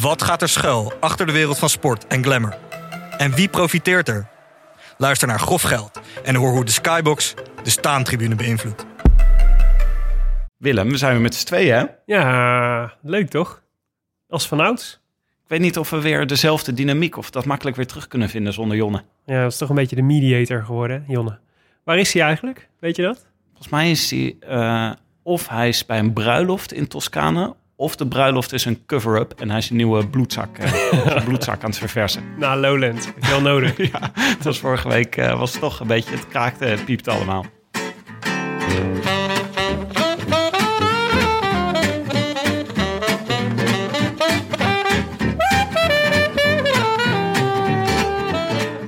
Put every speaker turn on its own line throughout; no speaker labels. Wat gaat er schuil achter de wereld van sport en glamour? En wie profiteert er? Luister naar Grof Geld en hoor hoe de Skybox de staantribune beïnvloedt.
Willem, we zijn weer met z'n tweeën. hè?
Ja, eh, leuk toch? Als vanouds.
Ik weet niet of we weer dezelfde dynamiek of dat makkelijk weer terug kunnen vinden zonder Jonne.
Ja, dat is toch een beetje de mediator geworden, hè, Jonne. Waar is hij eigenlijk? Weet je dat?
Volgens mij is hij eh, of hij is bij een bruiloft in Toscane, of de bruiloft is een cover-up en hij is een nieuwe bloedzak, eh, zijn bloedzak aan het verversen.
Nou, Lowland. Heb je wel nodig.
Ja, dat was vorige week eh, was het toch een beetje, het kraakte, het piepte allemaal.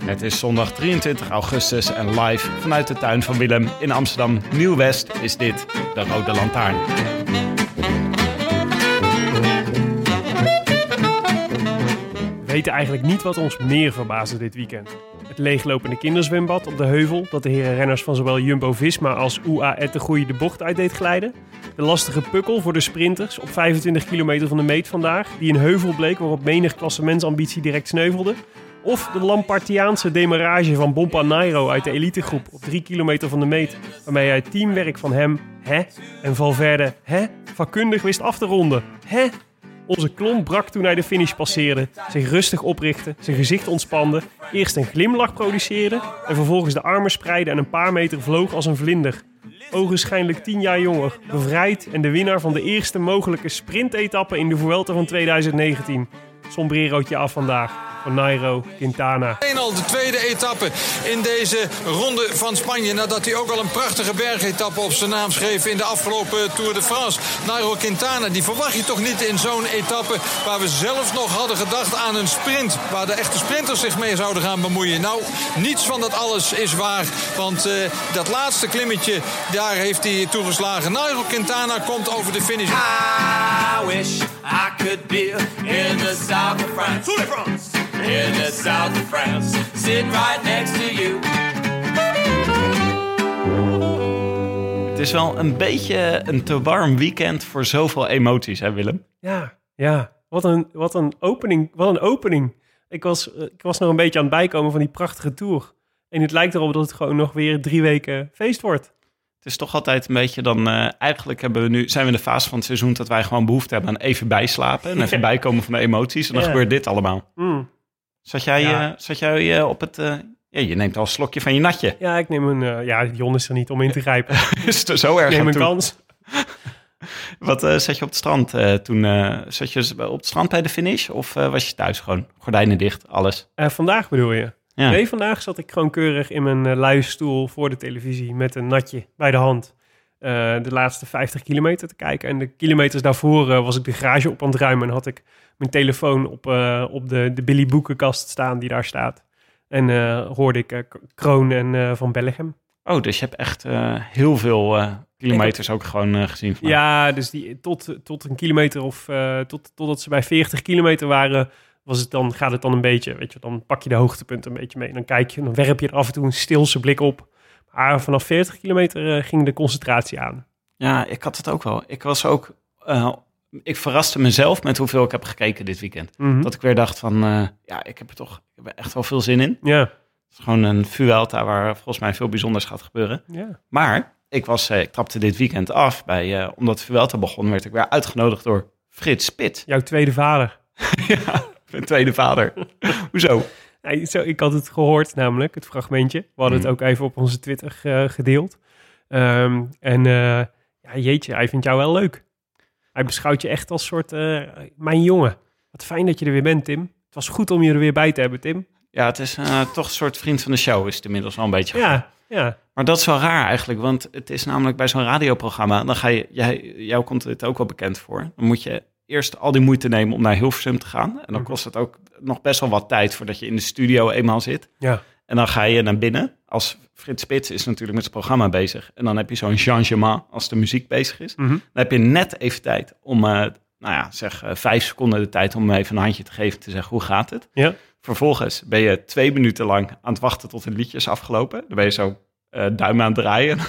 Het is zondag 23 augustus en live vanuit de tuin van Willem in Amsterdam Nieuw-West is dit de Rode Lantaarn.
We weten eigenlijk niet wat ons meer verbaasde dit weekend. Het leeglopende kinderzwembad op de heuvel, dat de heren renners van zowel Jumbo-Visma als UAE de Goeie de bocht uit deed glijden. De lastige pukkel voor de sprinters op 25 kilometer van de meet vandaag, die een heuvel bleek waarop menig klassementsambitie direct sneuvelde. Of de Lampartiaanse demarrage van Bompa Nairo uit de elitegroep op 3 kilometer van de meet, waarmee hij het teamwerk van hem, hè, en Valverde, hè, vakkundig wist af te ronden, hè. Onze klomp brak toen hij de finish passeerde, zich rustig oprichtte, zijn gezicht ontspande, eerst een glimlach produceerde en vervolgens de armen spreidde en een paar meter vloog als een vlinder. Ogenschijnlijk tien jaar jonger, bevrijd en de winnaar van de eerste mogelijke sprintetappe in de Vuelta van 2019. Sombrerootje af vandaag van Nairo Quintana.
Alleen al de tweede etappe in deze ronde van Spanje. Nadat hij ook al een prachtige bergetappe op zijn naam schreef in de afgelopen Tour de France. Nairo Quintana, die verwacht je toch niet in zo'n etappe waar we zelf nog hadden gedacht aan een sprint. Waar de echte sprinters zich mee zouden gaan bemoeien. Nou, niets van dat alles is waar. Want eh, dat laatste klimmetje, daar heeft hij toegeslagen. Nairo Quintana komt over de finish.
I wish I could be in the south of France. In the south of France. Sitting right next to you.
Het is wel een beetje een te warm weekend voor zoveel emoties, hè Willem?
Ja, ja. Wat een, wat een opening. Wat een opening. Ik was, eh, ik was nog een beetje aan het bijkomen van die prachtige tour. En het lijkt erop dat het gewoon nog weer drie weken feest wordt.
Het is toch altijd een beetje dan. eh, eigenlijk hebben we nu, zijn we in de fase van het seizoen dat wij gewoon behoefte hebben aan even bijslapen. En even bijkomen van de emoties. En dan
Ja.
gebeurt dit allemaal.
Mm.
Zat jij,
Ja.
eh, zat jij eh, op het. eh, ja, je neemt al een slokje van je natje.
Ja, ik neem een... eh, ja, Jon is er niet om in te grijpen.
Is het er zo erg
Ik neem
aan
een
toe.
kans.
Wat eh, zat je op het strand eh, toen? eh, zat je op het strand bij de finish? Of eh, was je thuis gewoon? Gordijnen dicht, alles.
Eh, vandaag bedoel je?
Ja.
Nee, vandaag zat ik gewoon keurig in mijn eh, luie stoel voor de televisie met een natje bij de hand. eh, de laatste 50 kilometer te kijken. En de kilometers daarvoor eh, was ik de garage op aan het ruimen. En had ik mijn telefoon op, eh, op de, de Billy Boekenkast staan die daar staat. En eh, hoorde ik eh, K- Kroon en eh, Van Bellegem.
Oh, dus je hebt echt eh, heel veel eh, kilometers ook gewoon eh, gezien. vandaag.
Ja, dus die, tot, tot een kilometer of eh, tot, totdat ze bij 40 kilometer waren, was het dan, gaat het dan een beetje. Weet je, dan pak je de hoogtepunten een beetje mee. Dan kijk je, dan werp je er af en toe een stilse blik op. Maar vanaf 40 kilometer eh, ging de concentratie aan.
Ja, ik had het ook wel. Ik was ook. eh, ik verraste mezelf met hoeveel ik heb gekeken dit weekend.
Mhm.
Dat ik weer dacht van, eh, ja, ik heb er toch ik heb er echt wel veel zin in.
Ja,
Het is gewoon een Vuelta waar volgens mij veel bijzonders gaat gebeuren.
ja.
Maar ik, was, eh, ik trapte dit weekend af bij, eh, omdat Vuelta begon, werd ik weer uitgenodigd door Frits Spit.
Jouw tweede vader.
Ja, Mijn tweede vader. Hoezo?
Nee, zo, ik had het gehoord namelijk, het fragmentje. We hadden het ook even op onze Twitter eh, gedeeld. Ehm, en eh, ja, jeetje, hij vindt jou wel leuk. Hij beschouwt je echt als soort eh, mijn jongen. Wat fijn dat je er weer bent, Tim. Het was goed om je er weer bij te hebben, Tim.
Ja, het is eh, toch een soort vriend van de show is het inmiddels wel een beetje.
Ja, ja.
Maar dat is wel raar eigenlijk, want het is namelijk bij zo'n radioprogramma, dan ga je, jij, jou komt dit ook wel bekend voor. Dan moet je eerst al die moeite nemen om naar Hilversum te gaan. En dan kost het ook nog best wel wat tijd voordat je in de studio eenmaal zit.
Ja.
En dan ga je naar binnen. Als Frits Spits is natuurlijk met zijn programma bezig. En dan heb je zo'n changement als de muziek bezig is.
Mhm.
Dan heb je net even tijd om, eh, nou ja, zeg eh, vijf seconden de tijd om hem even een handje te geven. Te zeggen, hoe gaat het?
Ja.
Vervolgens ben je twee minuten lang aan het wachten tot het liedje is afgelopen. Dan ben je zo eh duim aan het draaien,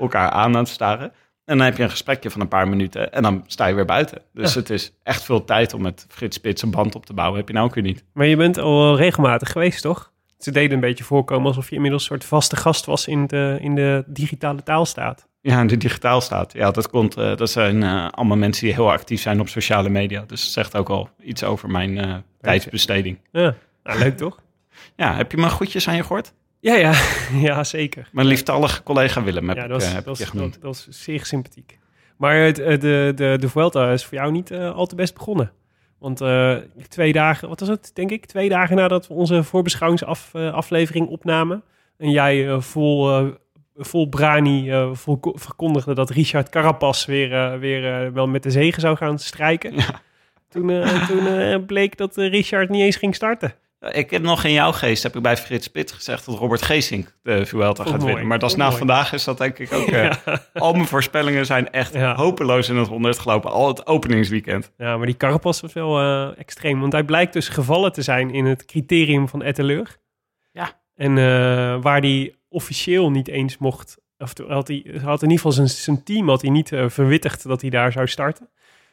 elkaar aan aan het staren. En dan heb je een gesprekje van een paar minuten en dan sta je weer buiten. Dus het is echt veel tijd om met Frits Spits een band op te bouwen. Heb je nou ook weer niet.
Maar je bent al wel regelmatig geweest, toch? Ze deden een beetje voorkomen alsof je inmiddels een soort vaste gast was in de, in de digitale taalstaat.
Ja, en die digitaal staat. Ja, dat, komt, eh, dat zijn eh, allemaal mensen die heel actief zijn op sociale media. Dus dat zegt ook al iets over mijn eh, tijdsbesteding.
Ja. Nou, leuk toch?
Ja, heb je maar goedjes aan je gehoord?
Ja, ja. Ja, zeker.
Mijn lieftallige collega Willem heb
Ja,
ik,
dat
eh,
was,
heb
dat
ik je
was,
genoemd.
dat, dat was zeer sympathiek. Maar het, eh, de, de, de Vuelta is voor jou niet eh, al te best begonnen. Want eh, twee dagen, wat was het, denk ik? Twee dagen nadat we onze voorbeschouwingsaflevering opnamen. En jij eh, vol, eh, vol brani eh, vol- verkondigde dat Richard Carapaz weer, eh, weer eh, wel met de zegen zou gaan strijken. Toen, eh, toen eh, bleek dat eh, Richard niet eens ging starten.
Eh, Ik heb nog in jouw geest, heb ik bij Frits Pitt gezegd dat Robert Geesink de Vuelta
Vond
gaat
mooi,
winnen. Maar dat is
vond
na
mooi.
vandaag is dat denk ik ook... eh, Al mijn voorspellingen zijn echt
Ja.
hopeloos in het honderd gelopen. Al het openingsweekend.
Ja, maar die Carapaz was wel eh, extreem. Want hij blijkt dus gevallen te zijn in het criterium van Etteleur.
Ja.
En eh, waar hij officieel niet eens mocht... Of to- had hij had in ieder geval zijn, zijn team had hij niet eh, verwittigd dat hij daar zou starten.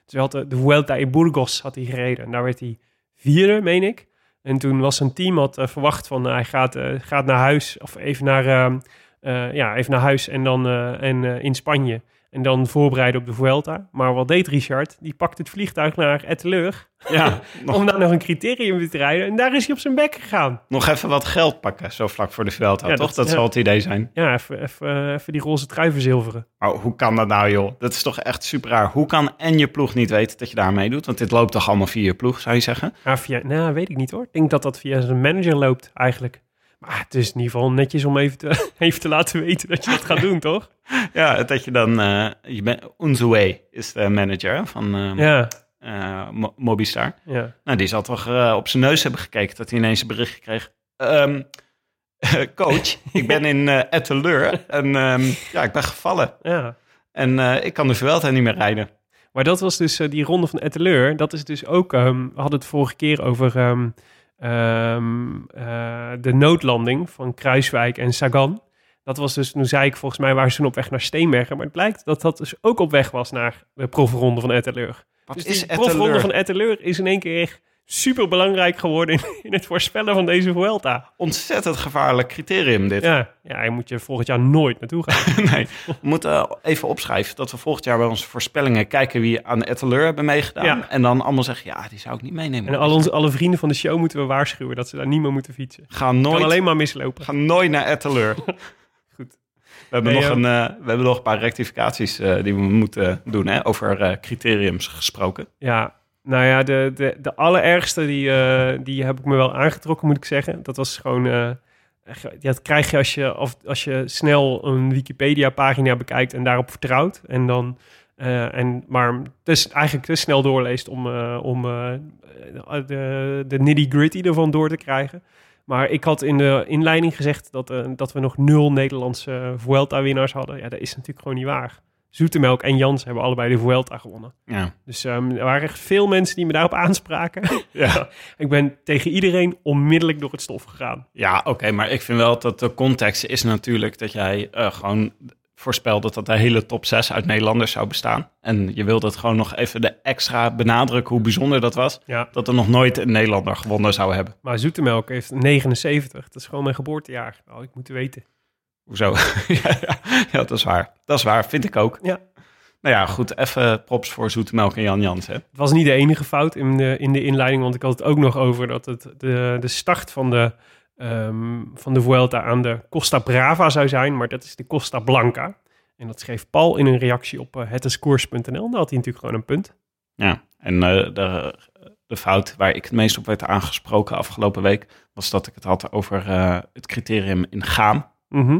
Dus hij had de, de Vuelta in Burgos had hij gereden. En daar werd hij vierde, meen ik. En toen was zijn team had eh, verwacht van eh, hij gaat, eh, gaat naar huis of even naar, ehm, eh, ja, even naar huis en dan eh, en, eh, in Spanje. En dan voorbereiden op de Vuelta. Maar wat deed Richard? Die pakt het vliegtuig naar Etteleur
Ja, nog,
om daar nog een criterium weer te rijden. En daar is hij op zijn bek gegaan.
nog even wat geld pakken, zo vlak voor de Vuelta.
Ja,
toch?
dat-
Dat,
ja.
zal het idee zijn.
Ja, even, even, eh, even die roze trui verzilveren.
Maar hoe kan dat nou, joh? Dat is toch echt super raar. Hoe kan en je ploeg niet weten dat je daarmee doet? Want dit loopt toch allemaal via je ploeg, zou je zeggen?
Ja, via, nou, weet ik niet hoor. Ik denk dat dat via zijn manager loopt eigenlijk. Maar het is in ieder geval netjes om even te, even te laten weten dat je dat gaat doen, toch?
Ja, dat je dan... eh je bent, Unzué is de manager hè, van eh
Ja,
eh, Mo- Mobistar.
ja.
Nou, die zal toch eh, op zijn neus hebben gekeken dat hij ineens een bericht kreeg. Ehm, coach, ik ben in eh Etteleur en ehm, ja, ik ben gevallen.
ja.
En eh, ik kan de Vuelta niet meer rijden.
Maar dat was dus eh, die ronde van Etteleur. Dat is dus ook. ehm, we hadden het vorige keer over ehm, ehm, eh, de noodlanding van Kruiswijk en Sagan. Dat was dus, nu zei ik volgens mij, waren ze toen op weg naar Steenbergen. Maar het blijkt dat dat dus ook op weg was naar de profronde van Etteleur.
Wat
dus
is
die profronde
Etteleur?
van Etteleur is in één keer echt super belangrijk geworden in, in het voorspellen van deze Vuelta.
Ontzettend gevaarlijk criterium dit.
Ja, ja, je moet je volgend jaar nooit naartoe gaan.
nee, we moeten even opschrijven dat we volgend jaar bij onze voorspellingen kijken wie aan Etteleur hebben meegedaan.
Ja.
En dan allemaal zeggen, ja, die zou ik niet meenemen.
En al onze, alle vrienden van de show moeten we waarschuwen dat ze daar niet meer moeten fietsen.
Ga
Kan
nooit,
alleen maar mislopen.
ga nooit naar Etteleur.
Goed.
We hebben,
Nee,
nog
eh,
een, eh, we hebben nog een paar rectificaties eh, die we moeten doen, hè, over eh, criteriums gesproken.
Ja, nou ja, de, de, de allerergste, die, eh, die heb ik me wel aangetrokken, moet ik zeggen. Dat was gewoon... eh, ge- ja, dat krijg je als je, of, als je snel een Wikipedia-pagina bekijkt en daarop vertrouwt. En dan... eh, en, maar dus eigenlijk te snel doorleest om, eh, om eh, de, de nitty-gritty ervan door te krijgen. Maar ik had in de inleiding gezegd dat, eh, dat we nog nul Nederlandse Vuelta-winnaars hadden. Ja, dat is natuurlijk gewoon niet waar. Zoetemelk en Jans hebben allebei de Vuelta gewonnen.
Ja.
Dus ehm, er waren echt veel mensen die me daarop aanspraken.
Ja,
ik ben tegen iedereen onmiddellijk door het stof gegaan.
ja oké, maar ik vind wel dat de context is natuurlijk dat jij eh, gewoon voorspelde dat de hele top 6 uit Nederlanders zou bestaan. En je wilde het gewoon nog even de extra benadrukken hoe bijzonder dat was.
Ja.
Dat er nog nooit een Nederlander gewonnen zou hebben.
Maar Zoetemelk heeft 79. Dat is gewoon mijn geboortejaar. Nou, ik moet het weten.
Hoezo? ja, ja, ja, dat is waar. Dat is waar, vind ik ook.
Ja.
Nou ja, goed, even props voor Zoete Melk en Jan Jans. Hè.
Het was niet de enige fout in de, in de inleiding, want ik had het ook nog over dat het de, de start van de, ehm, van de Vuelta aan de Costa Brava zou zijn, maar dat is de Costa Blanca. En dat schreef Paul in een reactie op uh, hetescours.nl. Daar had hij natuurlijk gewoon een punt.
Ja, en eh, de, de fout waar ik het meest op werd aangesproken afgelopen week... was dat ik het had over eh, het criterium in Gaam.
Mhm.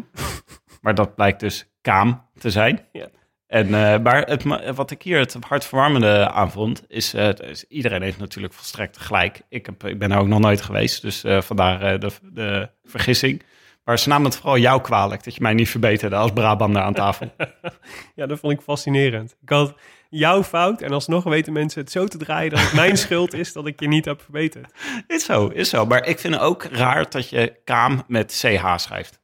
Maar dat blijkt dus kaam te zijn.
Ja.
En, eh, maar het, ma- wat ik hier het hartverwarmende aan vond, is, eh, is iedereen heeft natuurlijk volstrekt gelijk. Ik, heb, ik ben er ook nog nooit geweest, dus eh, vandaar eh, de, de vergissing. Maar ze namen het vooral jou kwalijk, dat je mij niet verbeterde als Brabander aan tafel.
Ja, dat vond ik fascinerend. Ik had jouw fout en alsnog weten mensen het zo te draaien dat het mijn schuld is dat ik je niet heb verbeterd.
is zo, is zo. Maar ik vind het ook raar dat je kaam met CH schrijft.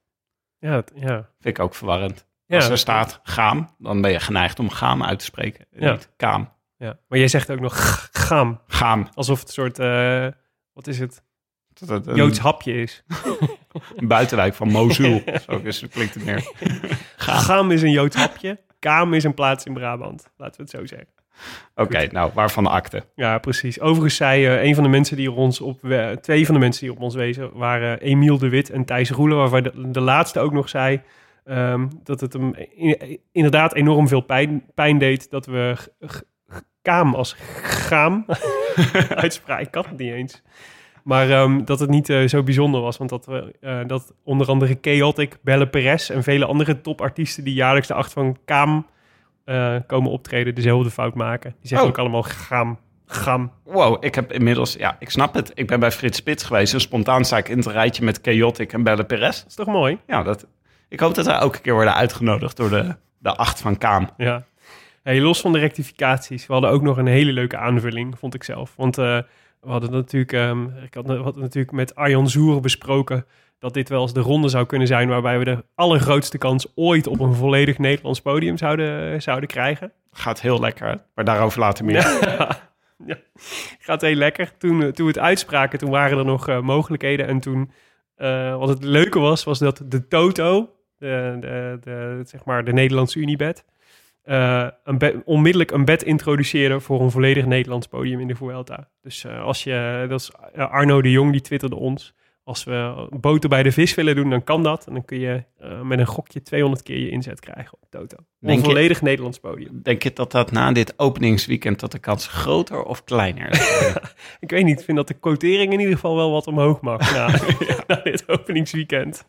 Ja, het- ja.
Vind ik ook verwarrend.
Ja,
als er staat gaam, dan ben je geneigd om gaam uit te spreken. en
Ja.
Niet kaam.
ja. Maar jij zegt ook nog g- gaam,
Gaam.
alsof het een soort, eh, wat is het,
Dat het een
Joods hapje is.
buitenwijk van Mosul. zo dus dat klinkt het meer.
Gam is een Joods hapje. Kaam is een plaats in Brabant. Laten we het zo zeggen.
Oké, nou, waarvan de akte?
Ja, precies. Overigens zei eh, een van de mensen die op ons op... we- twee van de mensen die op ons wezen waren eh, Emiel de Wit en Thijs Roelen. Waarvan de, de laatste ook nog zei ehm, dat het hem i- inderdaad enorm veel pijn, pijn deed... dat we g- g- g- kaam als gaam uitspraken. Ik kan het niet eens. Maar ehm, dat het niet eh, zo bijzonder was. Want dat, we, eh, dat onder andere Chaotic, Belle Perez en vele andere topartiesten... die jaarlijks de acht van Kaam eh, komen optreden, dezelfde fout maken. Die zeggen
Oh.
ook allemaal gaam, gaam.
Wow, ik heb inmiddels, ja, ik snap het. Ik ben bij Frits Spits geweest en spontaan sta ik in het rijtje met Chaotic en Belle Perez.
Dat is toch mooi?
Ja, dat, ik hoop dat wij elke keer worden uitgenodigd door de, de acht van Kaam.
Ja. Hey, los van de rectificaties, we hadden ook nog een hele leuke aanvulling, vond ik zelf. Want eh, we hadden natuurlijk, ehm, ik had, we hadden natuurlijk met Arjan Zoer besproken dat dit wel eens de ronde zou kunnen zijn waarbij we de allergrootste kans ooit op een volledig Nederlands podium zouden, zouden krijgen.
Gaat heel lekker, maar daarover later meer.
Gaat heel lekker. Toen, eh, toen we het uitspraken, toen waren er nog eh, mogelijkheden. En toen, eh, wat het leuke was, was dat de Toto, de, de, de, zeg maar de Nederlandse Unibed, eh, een bed- onmiddellijk een bed introduceerde voor een volledig Nederlands podium in de Vuelta. Dus eh, als je, dat is eh, Arno de Jong, die twitterde ons. Als we boter bij de vis willen doen, dan kan dat. En dan kun je eh, met een gokje 200 keer je inzet krijgen op Toto. Voor
Denk
Een
je-
volledig Nederlands podium.
Denk je dat dat na dit openingsweekend dat de kans groter of kleiner is?
Ik weet niet, ik vind dat de quotering in ieder geval wel wat omhoog mag na, na dit openingsweekend.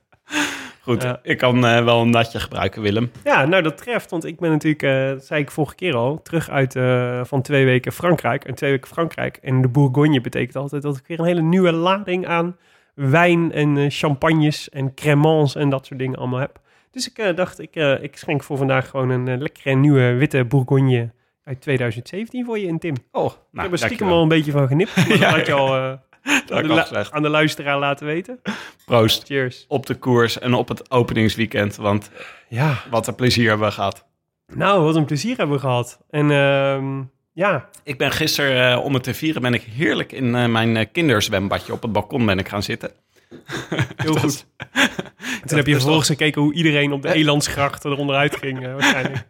Goed,
Ja.
ik kan eh, wel een natje gebruiken, Willem.
Ja, nou dat treft, want ik ben natuurlijk, eh, dat zei ik vorige keer al, terug uit eh, van twee weken Frankrijk. En twee weken Frankrijk en de Bourgogne betekent altijd dat ik weer een hele nieuwe lading aan wijn en eh, champagnes en cremants en dat soort dingen allemaal heb. Dus ik eh, dacht, ik, eh, ik schenk voor vandaag gewoon een eh, lekkere nieuwe witte Bourgogne uit 2017 voor je in, Tim.
Oh, nou,
Ik heb er
dankjewel.
stiekem al een beetje van genipt, maar dat had je al... eh,
Dat
aan,
ik
de
al
lu-
gezegd.
aan de luisteraar laten weten.
Proost
Cheers.
op de koers en op het openingsweekend, want
Ja.
wat een plezier hebben we gehad.
Nou, wat een plezier hebben we gehad. En ehm, ja,
Ik ben gisteren, eh, om het te vieren, ben ik heerlijk in eh, mijn eh, kinderzwembadje op het balkon ben ik gaan zitten.
heel
Dat-
goed. En toen heb je
is
vervolgens gekeken hoe iedereen op de Elandsgracht eronder uitging. eh, waarschijnlijk.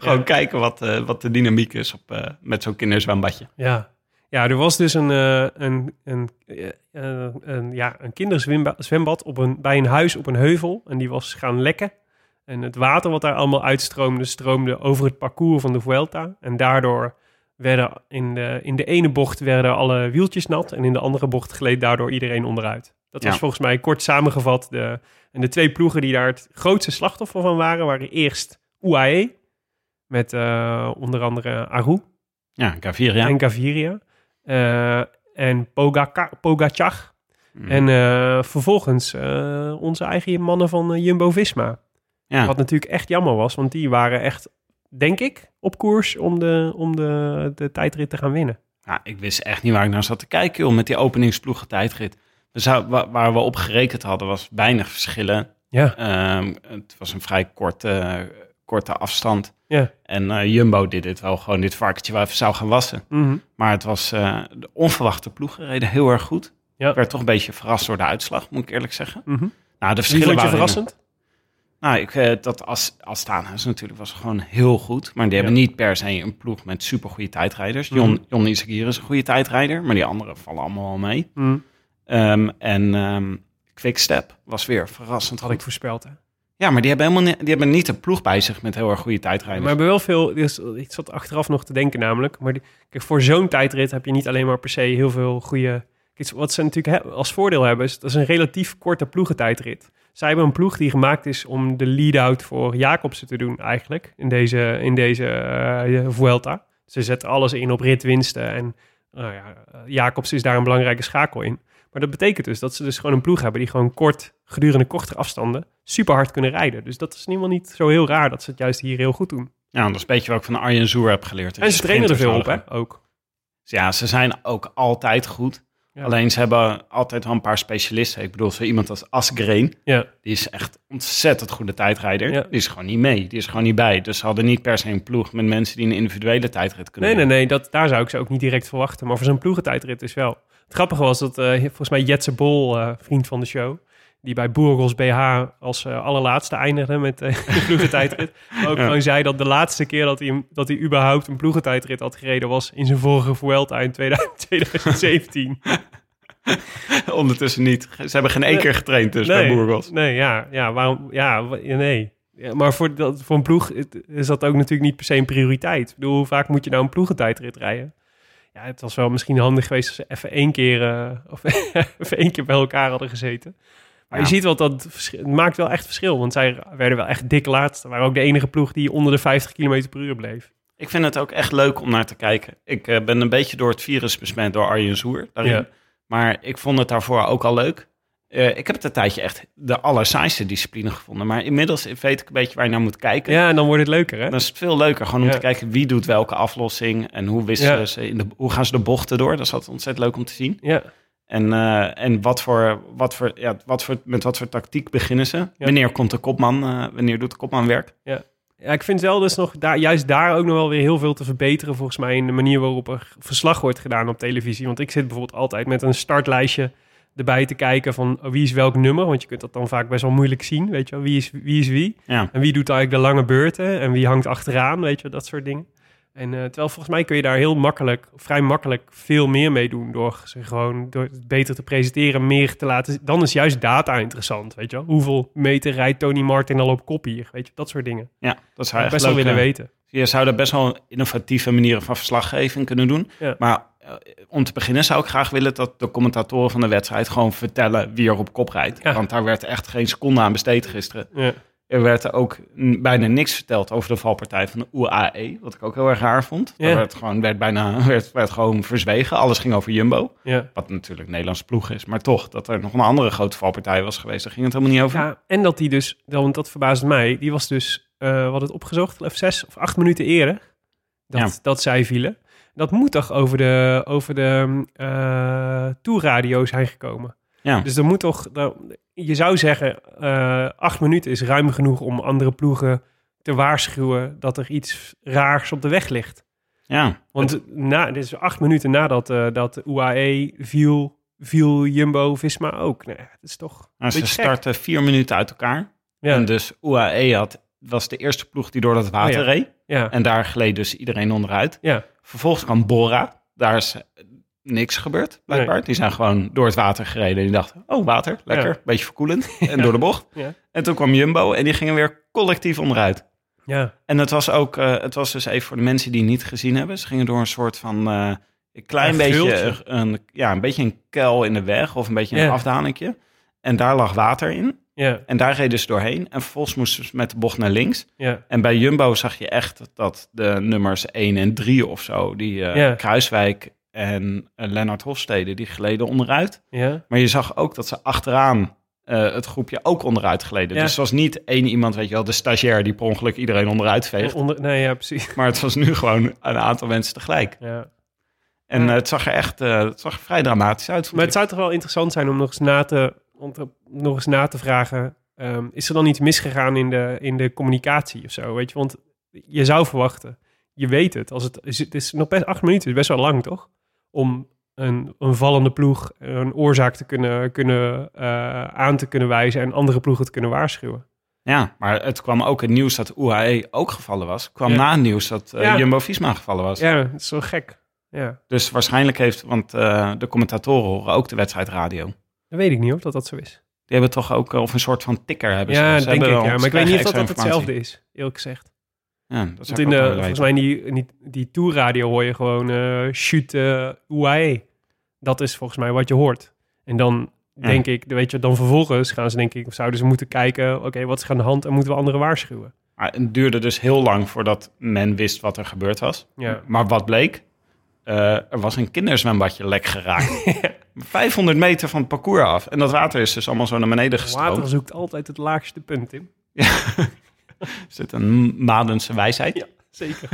Gewoon kijken wat, eh, wat de dynamiek is op, eh, met zo'n kinderzwembadje.
Ja. Ja, er was dus een, eh, een, een, eh, eh, een, ja, een kinderzwembad op een, bij een huis op een heuvel. En die was gaan lekken. En het water wat daar allemaal uitstroomde, stroomde over het parcours van de Vuelta. En daardoor werden in de, in de ene bocht werden alle wieltjes nat. En in de andere bocht gleed daardoor iedereen onderuit. Dat was
Ja.
volgens mij kort samengevat. De, en de twee ploegen die daar het grootste slachtoffer van waren, waren eerst UAE. Met eh, onder andere Aru
Ja, Gaviria.
en Gaviria. eh, en Pogaka- Pogacar.
Mm.
En eh, vervolgens eh, onze eigen mannen van eh, Jumbo-Visma.
ja.
Wat natuurlijk echt jammer was, want die waren echt, denk ik, op koers om de, om de, de tijdrit te gaan winnen.
Ja, ik wist echt niet waar ik naar zat te kijken, joh, met die openingsploegen tijdrit. We zou, wa- waar we op gerekend hadden, was weinig verschillen.
Ja,
Ehm, het was een vrij korte, korte afstand.
ja.
En eh, Jumbo deed dit wel, gewoon dit varkentje waar even zou gaan wassen.
mhm.
Maar het was eh, de onverwachte ploegen reden heel erg goed.
Ja.
Ik werd toch een beetje verrast door de uitslag, moet ik eerlijk zeggen.
Mhm.
Nou, de
Wie
verschillen
vond je
waren
verrassend?
Nou, ik, eh, dat As- Astana natuurlijk was gewoon heel goed. Maar die hebben niet per se een ploeg met supergoeie tijdrijders.
Mhm.
Jon, Jon Izagirre is een goede tijdrijder, maar die anderen vallen allemaal wel mee.
Mhm.
Ehm, en ehm Quickstep was weer verrassend
had ik
goed.
voorspeld. Hè? Maar
Ja, maar die hebben, helemaal niet, die hebben niet een ploeg bij zich met heel erg goede
we
tijdrijders.
hebben wel veel... dus ik zat achteraf nog te denken namelijk. Maar die- kijk, voor zo'n tijdrit heb je niet alleen maar per se heel veel goede... Kijk, wat ze natuurlijk he- als voordeel hebben... is dat is een relatief korte ploegentijdrit. Zij hebben een ploeg die gemaakt is om de lead-out voor Jacobsen te doen eigenlijk. In deze, in deze eh, Vuelta. Ze zetten alles in op ritwinsten. En nou ja, Jacobsen is daar een belangrijke schakel in. Maar dat betekent dus dat ze dus gewoon een ploeg hebben die gewoon kort, gedurende kortere afstanden, super hard kunnen rijden. Dus dat is in ieder geval niet zo heel raar dat ze het juist hier heel goed doen.
Ja, dat is een beetje wat ik van Arjen Zoer heb geleerd.
en ze trainen er veel op,
Sprinters
hè? Dus Ook.
Dus Ja, ze zijn ook altijd goed.
Ja.
Alleen ze hebben altijd wel een paar specialisten. Ik bedoel, zo iemand als Asgreen,
Ja.
die is echt ontzettend goede tijdrijder.
Ja.
Die is gewoon niet mee, die is gewoon niet bij. Dus ze hadden niet per se een ploeg met mensen die een individuele tijdrit kunnen
Nee, nee,
doen.
nee, dat, daar zou ik ze ook niet direct verwachten. Maar voor zo'n ploegentijdrit is wel. Het grappige was dat eh, volgens mij Jetse Bol, eh, vriend van de show, die bij Burgos BH als eh, allerlaatste eindigde met eh, de ploegentijdrit, ook gewoon zei dat de laatste keer dat hij, hem- dat hij überhaupt een ploegentijdrit had gereden was in zijn vorige Vuelta in 2000 2017.
Ondertussen niet. Ze hebben geen één
Nee.
keer getraind dus bij Burgos.
Nee, ja, ja, waarom, ja, wa- ja, nee. Ja, maar voor, dat, voor een ploeg het- is dat ook natuurlijk niet per se een prioriteit. Ik bedoel, hoe vaak moet je nou een ploegentijdrit rijden? Ja, het was wel misschien handig geweest als ze even één keer, eh, of even één keer bij elkaar hadden gezeten. Maar je
Ja.
ziet wel dat het verschil- het maakt wel echt verschil. Want zij werden wel echt dik laatste. Waren ook de enige ploeg die onder de 50 km per uur bleef.
Ik vind het ook echt leuk om naar te kijken. Ik eh, ben een beetje door het virus besmet door Arjen Zoer. Daarin.
Ja.
Maar ik vond het daarvoor ook al leuk. Eh, ik heb het een tijdje echt de allersaaiste discipline gevonden. Maar inmiddels weet ik een beetje waar je naar moet kijken.
Ja, en dan wordt het leuker, hè?
Dan is het veel leuker gewoon om
Ja.
te kijken wie doet welke aflossing. En hoe, wisselen
Ja.
ze in de, hoe gaan ze de bochten door. Dat is altijd ontzettend leuk om te zien.
Ja.
En, eh, en wat voor, wat voor, ja, wat voor, met wat voor tactiek beginnen ze. Wanneer komt de kopman, eh, wanneer doet de kopman werk?
Ja, ik vind wel dus nog daar, juist daar ook nog wel weer heel veel te verbeteren volgens mij in de manier waarop er verslag wordt gedaan op televisie. Want ik zit bijvoorbeeld altijd met een startlijstje erbij te kijken van oh, wie is welk nummer, want je kunt dat dan vaak best wel moeilijk zien, weet je wel, wie is wie. Is wie.
Ja.
En wie doet eigenlijk de lange beurten en wie hangt achteraan, weet je, dat soort dingen. En eh, terwijl volgens mij kun je daar heel makkelijk, vrij makkelijk, veel meer mee doen door ze gewoon door het beter te presenteren, meer te laten. Dan is juist data interessant, weet je wel. Hoeveel meter rijdt Tony Martin al op kop hier, weet je, dat soort dingen.
Ja, dat zou
Zou ik
echt
best wel
leuk,
willen
eh,
weten.
Je zou daar best wel innovatieve manieren van verslaggeving kunnen doen.
Ja.
Maar eh, om te beginnen zou ik graag willen dat de commentatoren van de wedstrijd gewoon vertellen wie er op kop rijdt.
Ja.
Want daar werd echt geen seconde aan besteed gisteren.
Ja.
Er werd ook n- bijna niks verteld over de valpartij van de UAE, wat ik ook heel erg raar vond.
Ja.
Er werd gewoon, werd bijna, werd, werd gewoon verzwegen. Alles ging over Jumbo,
Ja.
wat natuurlijk een Nederlandse ploeg is. Maar toch, dat er nog een andere grote valpartij was geweest, daar ging het helemaal niet over.
ja, en dat die dus, dan- want dat verbaasde mij, die was dus, eh wat het opgezocht, of zes of acht minuten eerder dat,
Ja.
dat zij vielen. Dat moet toch over de, over de toerradio zijn gekomen.
Ja.
Dus er moet toch, nou, je zou zeggen, eh, acht minuten is ruim genoeg om andere ploegen te waarschuwen dat er iets raars op de weg ligt.
ja.
Want na, dit is acht minuten nadat eh, dat UAE viel, viel Jumbo Visma ook. Nee, het is toch.
Maar ze
beetje gek.
starten vier minuten uit elkaar.
Ja.
En dus UAE had, was de eerste ploeg die door dat water
Oh ja.
reed.
Ja.
En daar gleed dus iedereen onderuit.
Ja.
Vervolgens kwam Bora. Daar is eh, niks gebeurd, blijkbaar. Die zijn gewoon door het water gereden. En die dachten, oh, water, lekker.
Ja.
Beetje verkoelend. En door de bocht.
Ja.
En toen kwam Jumbo en die gingen weer collectief onderuit.
ja.
En het was ook, eh, het was dus even voor de mensen die het niet gezien hebben. Ze gingen door een soort van, eh, een klein
Een
beetje,
gultje.
een, ja, een beetje een kuil in de weg. Of een beetje een
Ja.
afdalingje. En daar lag water in.
ja.
En daar reden ze doorheen. En vervolgens moesten ze met de bocht naar links.
Ja,
En bij Jumbo zag je echt dat de nummers 1 en 3 of zo, die eh,
Ja.
Kruiswijk en eh, Lennart Hofstede, die gleden onderuit.
ja,
Maar je zag ook dat ze achteraan eh, het groepje ook onderuit gleden.
Ja.
Dus het was niet één iemand, weet je wel, de stagiair die per ongeluk iedereen onderuit veegt.
onder, nee, ja, precies.
Maar het was nu gewoon een aantal mensen tegelijk.
Ja.
En
Ja.
eh, het zag er echt eh, het zag er vrij dramatisch uit. vond
Maar het
ik.
zou toch wel interessant zijn om nog eens na te, om te- nog eens na te vragen... ehm, is er dan iets misgegaan in de, in de communicatie of zo? Weet je? Want je zou verwachten, je weet het. Als het, is- het is nog best acht minuten, is best wel lang toch? Om een, een vallende ploeg een oorzaak te kunnen, kunnen, eh, aan te kunnen wijzen... en andere ploegen te kunnen waarschuwen.
Ja, maar het kwam ook het nieuws dat UAE ook gevallen was. kwam
Ja.
na het nieuws dat eh,
Ja.
Jumbo-Visma gevallen was.
Ja, het is wel gek. Ja,
Dus waarschijnlijk heeft, want eh, de commentatoren horen ook de wedstrijdradio.
dat weet ik niet of dat dat zo is.
Die hebben toch ook, eh, of een soort van tikker hebben ze.
ja,
Ze
denk
hebben
ik.
wel-
Ja.
ze
Maar ik weet
krijgen
niet of dat,
extra
dat
informatie.
hetzelfde is, eerlijk gezegd.
Ja, dat
Want
zou ik
in
ook
de,
wel willen
volgens
weten.
mij in die, in die, die tourradio hoor je gewoon eh shoot eh, UAE. Dat is volgens mij wat je hoort. En dan
Ja.
denk ik, weet je, dan vervolgens gaan ze denk ik, of zouden ze moeten kijken, oké, wat is er aan de hand en moeten we anderen waarschuwen?
Maar het duurde dus heel lang voordat men wist wat er gebeurd was.
Ja.
Maar wat bleek? Eh, er was een kinderzwembadje lek geraakt. 500 meter van het parcours af. En dat water is dus allemaal zo naar beneden gestroomd.
Water zoekt altijd het laagste punt in.
Is dit een Madense wijsheid?
Zeker.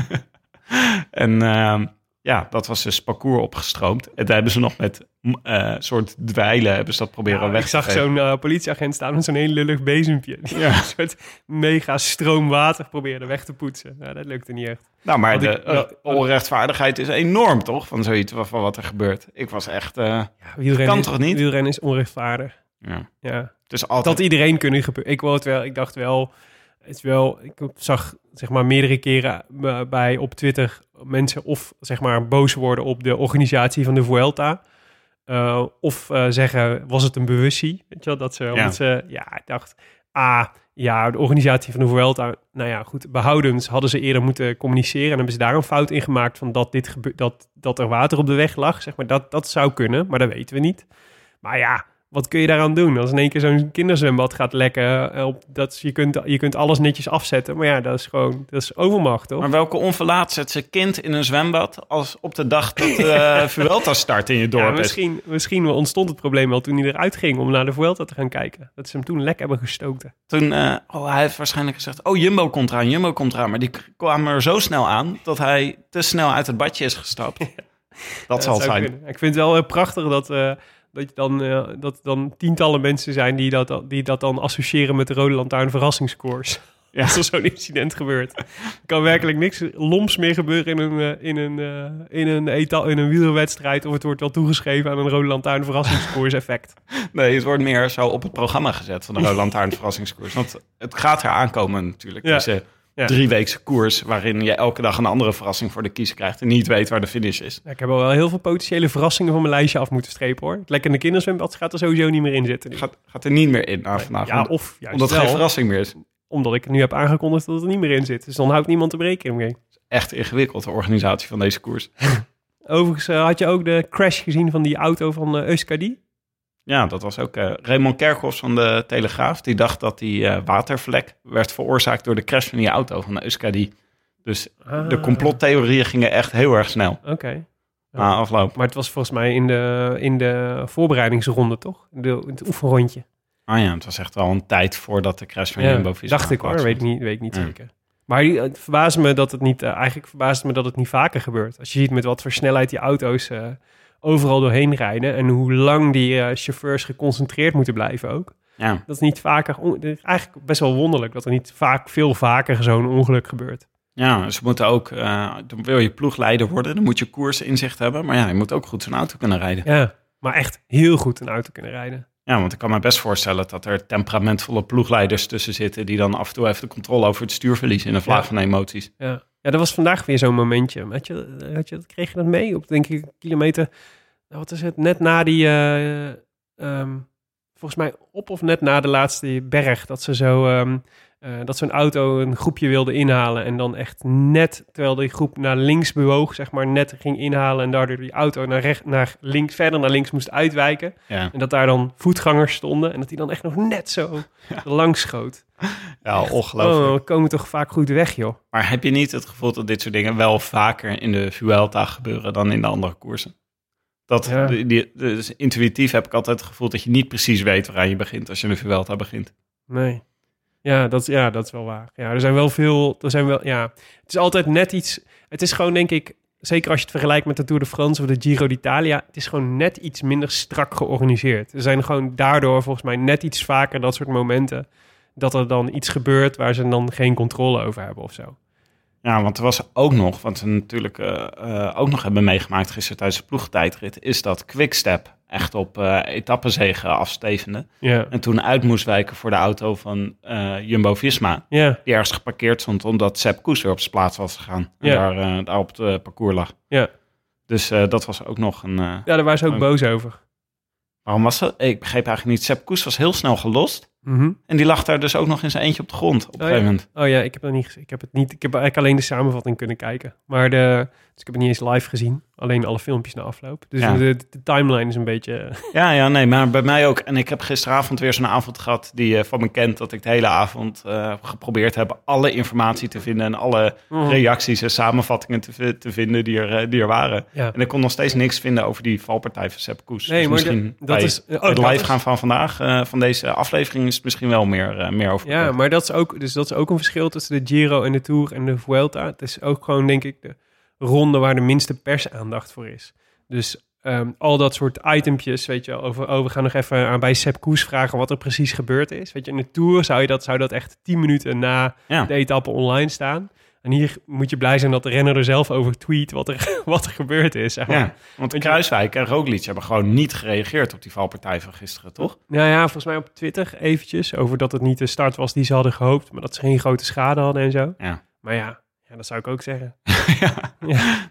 En ehm, ja, dat was dus parcours opgestroomd. En daar hebben ze nog met eh soort dweilen hebben ze dat proberen weg
ik zag zo'n eh, politieagent staan met zo'n heel lullig bezempje. Die
Ja.
een soort mega stroom water probeerde weg te poetsen. Nou, dat lukte niet echt.
Nou, maar
Want
de
ik- ja.
eh, onrechtvaardigheid is enorm, toch? Van zoiets van, van wat er gebeurt. Ik was echt... eh,
Ja, wielrennen,
Kan toch niet?
Wielrennen is onrechtvaardig.
ja.
Ja.
Het is
dat
altijd...
iedereen kunnen gebeuren. Ik, wou het wel, ik dacht wel, het is wel, ik zag zeg maar meerdere keren eh, bij op Twitter mensen of zeg maar boos worden op de organisatie van de Vuelta. Eh, of eh, zeggen, was het een bewustie? Weet je wel, dat ze, ja. omdat ze, ja, ik dacht, ah, ja, de organisatie van de Vuelta, nou ja, goed, behoudens hadden ze eerder moeten communiceren en hebben ze daar een fout in gemaakt van dat, dit gebe- dat, dat er water op de weg lag, zeg maar, dat, dat zou kunnen, maar dat weten we niet. Maar ja, wat kun je daaraan doen? Als in één keer zo'n kinderzwembad gaat lekken, eh, op, dat, is- je, kunt, je kunt alles netjes afzetten, maar ja, dat is gewoon, dat is overmacht, toch?
Maar welke onverlaat zet zijn kind in een zwembad als op de dag dat eh Vuelta start in je dorp
Ja,
is?
misschien, misschien ontstond het probleem wel toen hij eruit ging om naar de Vuelta te gaan kijken. Dat ze hem toen lek hebben gestoten.
Toen, eh, oh, hij heeft waarschijnlijk gezegd, oh, Jumbo komt eraan, Jumbo komt eraan. Maar die k- kwamen er zo snel aan dat hij te snel uit het badje is gestapt. Dat zal het
zou
zijn.
kunnen. Ik vind het wel eh, prachtig dat, eh, dat, je dan, eh, dat er dan tientallen mensen zijn die dat, die dat dan associëren met de Rode Lantaarn verrassingscours.
Ja.
Als er zo'n incident gebeurt. Er kan werkelijk niks loms meer gebeuren in een, eh, in een, eh, in een, eta- in een wielerwedstrijd. Of het wordt wel toegeschreven aan een Rode Lantaarn verrassingscours effect.
Nee, het wordt meer zo op het programma gezet van de Rode Lantaarn verrassingskoers. Want het gaat er aankomen natuurlijk,
Ja.
deze
Ja.
drieweekse koers... waarin je elke dag een andere verrassing voor de kiezer krijgt... en niet weet waar de finish is.
Ja, ik heb al wel heel veel potentiële verrassingen van mijn lijstje af moeten strepen hoor. Het lekkende kinderzwembad gaat er sowieso niet meer in zitten. nu.
Gaat, gaat er niet meer in na vandaag,
ja,
om-
of juist
omdat het
wel,
geen verrassing meer is.
omdat ik nu heb aangekondigd dat het er niet meer in zit. Dus dan houdt niemand de rekening mee.
Echt ingewikkeld, de organisatie van deze koers.
Overigens eh, had je ook de crash gezien van die auto van eh Euskadi.
Ja, dat was ook eh, Raymond Kerkhoffs van de Telegraaf. Die dacht dat die eh, watervlek werd veroorzaakt door de crash van die auto van de Euskadi. Dus
Ah.
de complottheorieën gingen echt heel erg snel
Oké.
na afloop.
Maar het was volgens mij in de, in de voorbereidingsronde, toch? De, het oefenrondje.
Ah ja, het was echt wel een tijd voordat de crash van
Ja,
Jumbo-Visma
dacht ik hoor,
plaats
weet ik
vond.
niet, weet ik niet
Ja.
zeker. Maar die- het verbaast me dat het niet, eh, eigenlijk verbaast het me dat het niet vaker gebeurt. Als je ziet met wat voor snelheid die auto's eh, overal doorheen rijden en hoe lang die eh, chauffeurs geconcentreerd moeten blijven ook.
Ja,
Dat is niet vaker, on- dat is eigenlijk best wel wonderlijk dat er niet vaak, veel vaker zo'n ongeluk gebeurt.
ja, ze moeten ook... eh, dan wil je ploegleider worden, dan moet je koersinzicht hebben. Maar ja, je moet ook goed zo'n auto kunnen rijden.
Ja, maar echt heel goed een auto kunnen rijden.
Ja, want ik kan me best voorstellen dat er temperamentvolle ploegleiders tussen zitten... die dan af en toe even de controle over het stuur verliezen in een vlaag
Ja.
van emoties.
Ja. ja, dat was vandaag weer zo'n momentje. Had je, had je, kreeg je dat mee op, denk ik, kilometer... nou, wat is het? Net na die... eh, ehm, volgens mij op of net na de laatste berg... dat ze zo... ehm, eh, dat zo'n auto een groepje wilde inhalen... en dan echt net, terwijl die groep naar links bewoog... zeg maar, net ging inhalen... en daardoor die auto naar recht, naar links, verder naar links moest uitwijken...
Ja,
en dat daar dan voetgangers stonden... en dat die dan echt nog net zo langs schoot.
ja ongelooflijk.
Oh, we komen toch vaak goed weg, joh.
Maar heb je niet het gevoel dat dit soort dingen wel vaker in de Vuelta gebeuren dan in de andere koersen? Dat,
Ja.
die, die- dus intuïtief heb ik altijd het gevoel dat je niet precies weet waaraan je begint als je in de Vuelta begint.
Nee. Ja, dat, ja, dat is wel waar. Ja, er zijn wel veel. Er zijn wel, ja. Het is altijd net iets. Het is gewoon, denk ik, zeker als je het vergelijkt met de Tour de France of de Giro d'Italia. Het is gewoon net iets minder strak georganiseerd. Er zijn gewoon daardoor volgens mij net iets vaker dat soort momenten. Dat er dan iets gebeurt waar ze dan geen controle over hebben of zo.
Ja, want er was ook nog, wat we natuurlijk eh, eh, ook nog hebben meegemaakt gisteren tijdens de ploegtijdrit, is dat Quickstep echt op eh etappenzegen afstevende.
Ja.
En toen uit moest wijken voor de auto van eh, Jumbo-Visma.
Ja,
Die ergens geparkeerd stond omdat Sepp Koes weer op zijn plaats was gegaan. En
Ja.
daar, eh, daar op het eh, parcours lag.
ja.
Dus eh, dat was ook nog een... eh,
ja, daar waren ze ook
Oh.
boos over.
Waarom was dat? Ik begreep eigenlijk niet. Sepp Koes was heel snel gelost. En die lag daar dus ook nog in zijn eentje op de grond op een
ja.
gegeven moment.
Oh ja, ik heb dat niet gezien. Ik heb het niet. Ik heb eigenlijk alleen de samenvatting kunnen kijken. Maar de, dus ik heb het niet eens live gezien. Alleen alle filmpjes na afloop. Dus
Ja.
de, de timeline is een beetje.
Ja, ja, nee, maar bij mij ook. En ik heb gisteravond weer zo'n avond gehad die eh, van me kent dat ik de hele avond eh, geprobeerd heb alle informatie te vinden en alle
Oh.
reacties en samenvattingen te, vi- te vinden die er, eh, die er waren.
Ja.
En ik kon nog steeds niks vinden over die valpartij van Sepp Koes.
Nee,
Dus
maar
misschien
dat- dat
bij
is- oh,
het
dat
live
is-
gaan van vandaag, eh, van deze aflevering, is het misschien wel meer, eh, meer over.
Ja, maar dat is ook. Dus dat is ook een verschil tussen de Giro en de Tour en de Vuelta. Het is ook gewoon, denk ik, de ronde waar de minste persaandacht voor is. Dus ehm, al dat soort itempjes, weet je, wel, over, oh, we gaan nog even aan bij Sepp Koes vragen wat er precies gebeurd is. Weet je, in de Tour zou, je dat, zou dat echt tien minuten na
Ja.
de etappe online staan. En hier moet je blij zijn dat de renner er zelf over tweet wat er, wat er gebeurd is. Zeg maar.
Ja, want Kruiswijk en Roglic hebben gewoon niet gereageerd op die valpartij van gisteren, toch?
Nou ja, volgens mij op Twitter eventjes over dat het niet de start was die ze hadden gehoopt, maar dat ze geen grote schade hadden en zo.
Ja.
Maar ja, ja dat zou ik ook zeggen.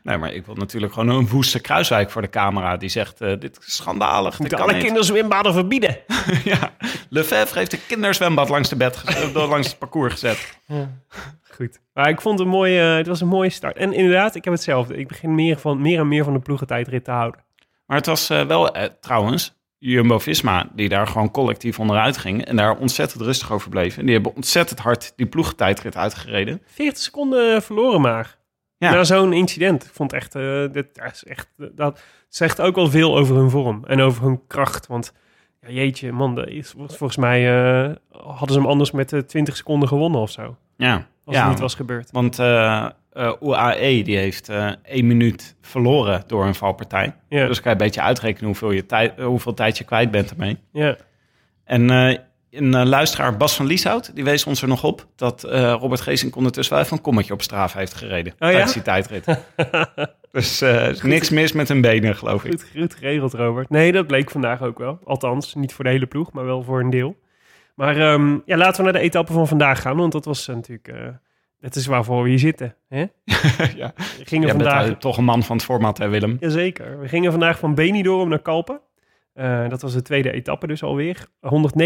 Nee, maar ik wil natuurlijk gewoon een woeste Kruiswijk voor de camera die zegt: eh, Dit is schandalig. Dit
Moeten
kan
alle
niet.
kinderzwembaden verbieden.
ja. Lefebvre heeft een kinderzwembad langs, de bed ge- eh, langs het parcours gezet.
Goed. Maar ik vond het een mooie, eh, het was een mooie start. En inderdaad, ik heb hetzelfde. Ik begin meer, van, meer en meer van de ploegentijdrit te houden.
Maar het was eh, wel eh, trouwens Jumbo Visma, die daar gewoon collectief onderuit ging. En daar ontzettend rustig over bleef. En die hebben ontzettend hard die ploegentijdrit uitgereden.
40 seconden verloren maar.
Ja.
Na zo'n incident. Ik vond echt, eh, dit ja, is echt dat zegt ook wel veel over hun vorm en over hun kracht. Want ja, jeetje, man, dat is, volgens mij eh, hadden ze hem anders met eh, 20 seconden gewonnen of zo.
Ja,
Als
ja
het niet was gebeurd.
want eh, eh, UAE die heeft eh, één minuut verloren door een valpartij.
Ja,
Dus kan je een beetje uitrekenen hoeveel, je tijd, eh, hoeveel tijd je kwijt bent ermee.
ja.
En eh, een eh, luisteraar, Bas van Lieshout, die wees ons er nog op dat eh, Robert Geesink ondertussen wel even een kommetje op straf heeft gereden
Oh ja?
tijdens die tijdrit. dus eh, er is niks mis met hun benen, geloof ik.
Goed, goed geregeld, Robert. Nee, dat bleek vandaag ook wel. Althans, niet voor de hele ploeg, maar wel voor een deel. Maar ehm, ja, laten we naar de etappe van vandaag gaan, want dat was eh, natuurlijk... eh dat is waarvoor we hier zitten. Hè?
ja.
We gingen
Jij bent
vandaag...
eh, toch een man van het format, hè Willem?
Jazeker. We gingen vandaag van Benidorm naar Kalpen. Eh, dat was de tweede etappe dus alweer.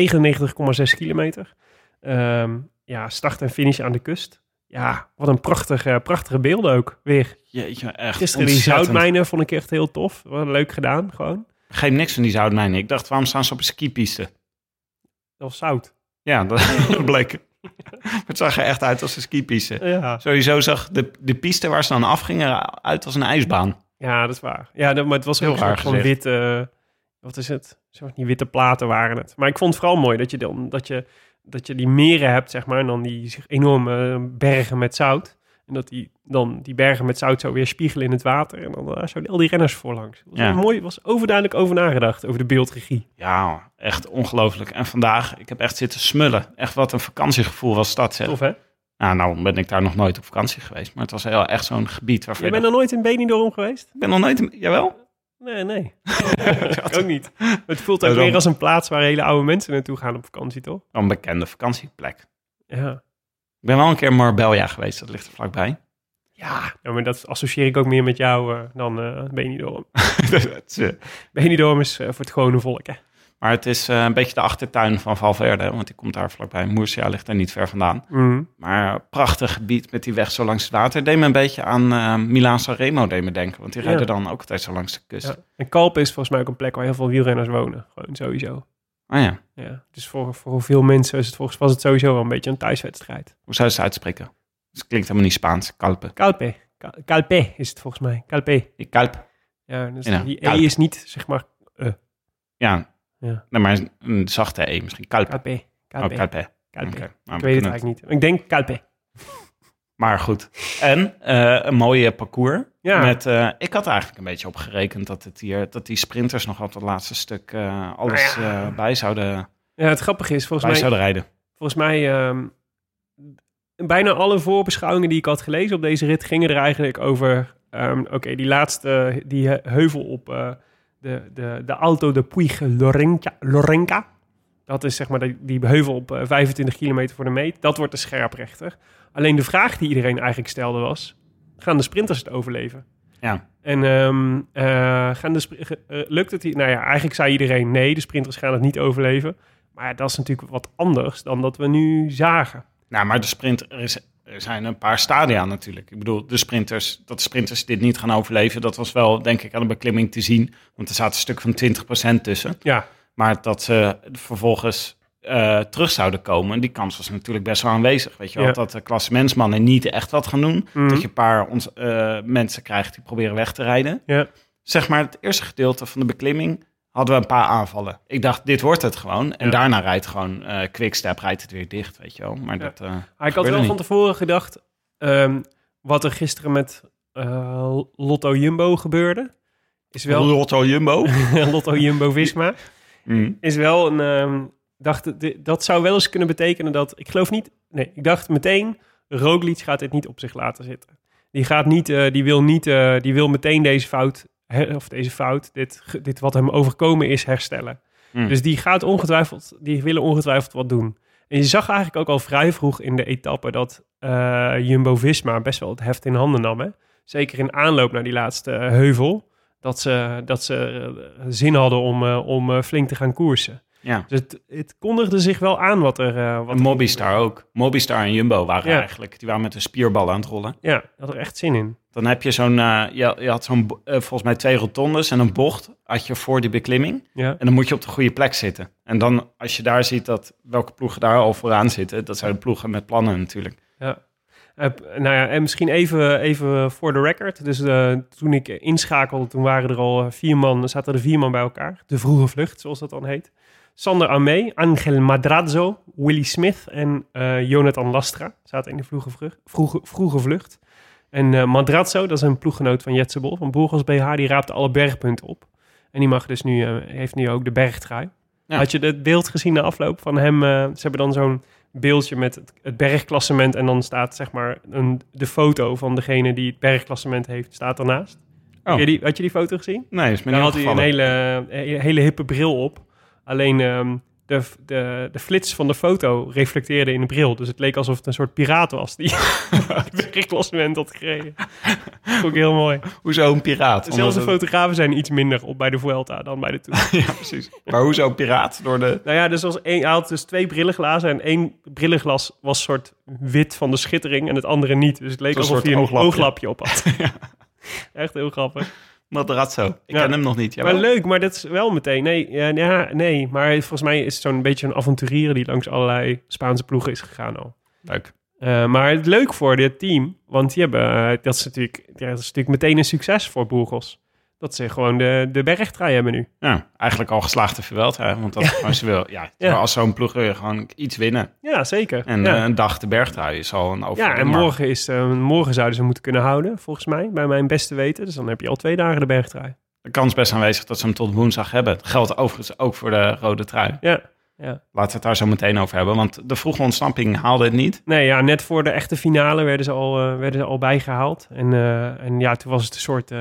199,6 kilometer. Ehm, ja, start en finish aan de kust. Ja, wat een prachtige, prachtige beelden ook weer.
Jeetje, echt
Gisteren die
ontzettend.
zoutmijnen vond ik echt heel tof. Wat leuk gedaan, gewoon.
Begreep niks van die zoutmijnen. Ik dacht, waarom staan ze op een skipiste?
Dat was zout.
Ja, dat bleek. het zag er echt uit als een skipiste.
Ja.
Sowieso zag de, de piste waar ze dan afgingen er uit als een ijsbaan.
ja, dat is waar. Ja, dat, maar het was
Heel
heel
raar
raar van
gezegd.
witte... Wat is het? Soort niet witte platen waren het. Maar ik vond het vooral mooi dat je, dan, dat je, dat je die meren hebt, zeg maar. En dan die enorme bergen met zout. En dat die, dan die bergen met zout zo weer spiegelen in het water. En dan daar zo al die renners voorlangs. Dat was
Ja.
wel mooi. was overduidelijk over nagedacht, over de beeldregie.
Ja, echt ongelooflijk. En vandaag, ik heb echt zitten smullen. Echt wat een vakantiegevoel was dat, zeg.
Tof, hè?
Nou, nou ben ik daar nog nooit op vakantie geweest. Maar het was heel, echt zo'n gebied waarvan
Jij bent
je
nog nooit in Benidorm geweest?
dacht, ik ben nog nooit... in- Jawel?
Nee, nee. Ik ook niet. Het voelt ook
Ja, dan-
weer als een plaats waar hele oude mensen naartoe gaan op vakantie, toch?
Wel Een bekende vakantieplek.
Ja.
Ik ben wel een keer in Marbella geweest. Dat ligt er vlakbij.
Ja, ja, maar dat associeer ik ook meer met jou eh, dan eh Benidorm.
Dat is, eh,
Benidorm is eh, voor het gewone volk, hè?
maar het is eh, een beetje de achtertuin van Valverde. Want die komt daar vlakbij. Murcia ligt er niet ver vandaan.
Mm.
Maar prachtig gebied met die weg zo langs het water. Deed me een beetje aan eh Milaan Sanremo deed me denken. Want die
Ja.
rijden dan ook altijd zo langs de kust.
Ja. En Kalpen is volgens mij ook Dus een plek waar heel veel wielrenners wonen. Gewoon sowieso.
Oh ja,
Ja. Dus voor, voor veel mensen is het volgens, was het sowieso wel een beetje een thuiswedstrijd.
hoe zou je het uitspreken? Dus het klinkt helemaal niet Spaans. Kalpe.
Calpe. Cal- Calpe is het volgens mij. Calpe.
Die kalp.
Ja, dus
Ja,
die E
Calpe.
is niet, zeg maar,
Ja.
Ja.
Nee, maar een zachte E misschien. Kalpe.
Calpe. Calpe.
Oh, kalpe.
Calpe.
Oké, nou,
Ik
we
weet het
kunnen
eigenlijk niet. Ik denk Calpe.
Maar goed. En eh, een mooie parcours.
Ja.
Met, eh, ik had eigenlijk een beetje op gerekend dat, het hier, dat die sprinters nog op het laatste stuk eh, alles
Nou ja.
eh, bij, zouden,
Ja, het grappige is,
bij
volgens mij,
zouden rijden.
volgens mij ehm, bijna alle voorbeschouwingen die ik had gelezen op deze rit gingen er eigenlijk over. ehm, Oké, die laatste die he- heuvel op eh de, de, de Alto de Puig Lorenca. Lorenca. Dat is zeg maar die, die heuvel op eh, 25 kilometer voor de meet. Dat wordt de scherprechter. Alleen de vraag die iedereen eigenlijk stelde was... gaan de sprinters het overleven?
Ja.
En ehm, eh, gaan de spr- ge- eh, lukt het hier? Nou ja, eigenlijk zei iedereen nee, de sprinters gaan het niet overleven. Maar ja, dat is natuurlijk wat anders dan dat we nu zagen.
Nou, maar de sprint, er, is, er zijn een paar stadia natuurlijk. Ik bedoel, de sprinters, dat de sprinters dit niet gaan overleven, dat was wel, denk ik, aan de beklimming te zien. Want er zaten een stuk van 20% tussen.
Ja,
Maar dat ze vervolgens eh, terug zouden komen, die kans was natuurlijk best wel aanwezig. Weet je wel,
Ja.
dat de klassementsmannen niet echt wat gaan doen.
Mhm.
Dat je een paar ons, eh, mensen krijgt die proberen weg te rijden.
ja.
Zeg maar, het eerste gedeelte van de beklimming hadden we een paar aanvallen. Ik dacht, dit wordt het gewoon. En
Ja.
daarna rijdt gewoon eh Quickstep, rijdt het weer dicht, weet je wel. Maar dat... eh,
Maar ik had
gebeurde
wel
niet.
van tevoren gedacht, ehm, wat er gisteren met eh, Lotto Jumbo gebeurde, is wel
Lotto Jumbo.
Lotto Jumbo Visma,
Mm,
is wel een. ehm, dacht, di- dat zou wel eens kunnen betekenen dat. Ik geloof niet. Nee, ik dacht meteen. Roglic gaat dit niet op zich laten zitten. Die gaat niet. eh, die wil niet. eh, die wil meteen deze fout. her- of deze fout. Dit, ge- dit wat hem overkomen is herstellen.
Mm.
Dus die gaat ongetwijfeld. Die willen ongetwijfeld wat doen. En je zag eigenlijk ook al vrij vroeg in de etappe dat eh, Jumbo Visma best wel het heft in handen nam. Hè? Zeker in aanloop naar die laatste eh, heuvel. Dat ze, dat ze eh, zin hadden om, eh, om eh, flink te gaan koersen.
Ja.
Dus het, het kondigde zich wel aan wat er, eh, wat
En Mobistar ook. Mobistar en Jumbo waren
Ja.
eigenlijk. Die waren met een spierbal aan het rollen.
Ja, had er echt zin in.
Dan heb je zo'n... eh, je, je had zo'n, bo- eh, volgens mij twee rotondes en een bocht had je voor die beklimming.
Ja.
En dan moet je op de goede plek zitten. En dan, als je daar ziet dat welke ploegen daar al vooraan zitten... dat zijn de ploegen met plannen natuurlijk.
Eh, p- nou ja, en misschien even, even voor de record. Dus eh, toen ik inschakelde, toen waren er al eh, vier man, zaten er vier man bij elkaar. De vroege vlucht, zoals dat dan heet. Sander Amé, Angel Madrazo, Willy Smith en eh, Jonathan Lastra zaten in de vroege, vrucht- vroege, vroege vlucht. En eh Madrazo, dat is een ploeggenoot van Jetsebol, van Burgos BH, die raapte alle bergpunten op. En die mag dus nu, eh, heeft nu ook de bergtrui.
Ja.
Had je het beeld gezien na afloop van hem? eh, ze hebben dan zo'n beeldje met het, het bergklassement. En dan staat zeg maar een, de foto van degene die het bergklassement heeft, staat ernaast. Heb je die, had je die foto gezien?
Nee, is Oh. me
Daar
niet
had hij een
opgevallen.
hele, he- hele hippe bril op. Alleen ehm, de, de, de flits van de foto reflecteerde in de bril. Dus het leek alsof het een soort piraat was die het bergklassement had gereden. Dat vond ik heel mooi.
Hoezo een piraat?
Zelfs de
Omdat het-
fotografen zijn iets minder op bij de Vuelta dan bij de Tour.
Ja, precies. Maar hoezo een piraat door de...
Nou ja, dus als één, hij had dus twee brillenglazen en één brillenglas was soort wit van de schittering en het andere niet. Dus het leek
Zo'n
alsof
soort
hij een ooglapje,
ooglapje.
op had. Echt heel grappig.
Matarazzo. Ik
Ja.
ken hem nog niet. Jawel.
Maar leuk, maar dat is wel meteen. Nee, ja, ja, nee. maar volgens mij is het zo'n beetje een avonturier die langs allerlei Spaanse ploegen is gegaan al.
Leuk.
Eh, maar het leuk voor dit team, want die hebben, eh, dat, is natuurlijk, ja, dat is natuurlijk meteen een succes voor Burgos. Dat ze gewoon de, de bergtrui hebben nu.
Ja, eigenlijk al geslaagde Vuelta, hè, want dat is gewoon ze wil. Ja,
Ja.
als zo'n ploeg wil je gewoon iets winnen.
Ja, zeker.
En
ja.
eh, een dag de bergtrui is al een
Ja,
overwinning.
en morgen, is, eh, morgen zouden ze moeten kunnen houden, volgens mij, bij mijn beste weten. Dus dan heb je al twee dagen de bergtrui.
De kans is best aanwezig dat ze hem tot woensdag hebben. Dat geldt overigens ook voor de rode trui.
Ja.
Laten we het daar zo meteen over hebben, want de vroege ontsnapping haalde het niet.
Nee, ja, net voor de echte finale werden ze al, eh, werden ze al bijgehaald. En, eh, en ja, toen was het een soort eh,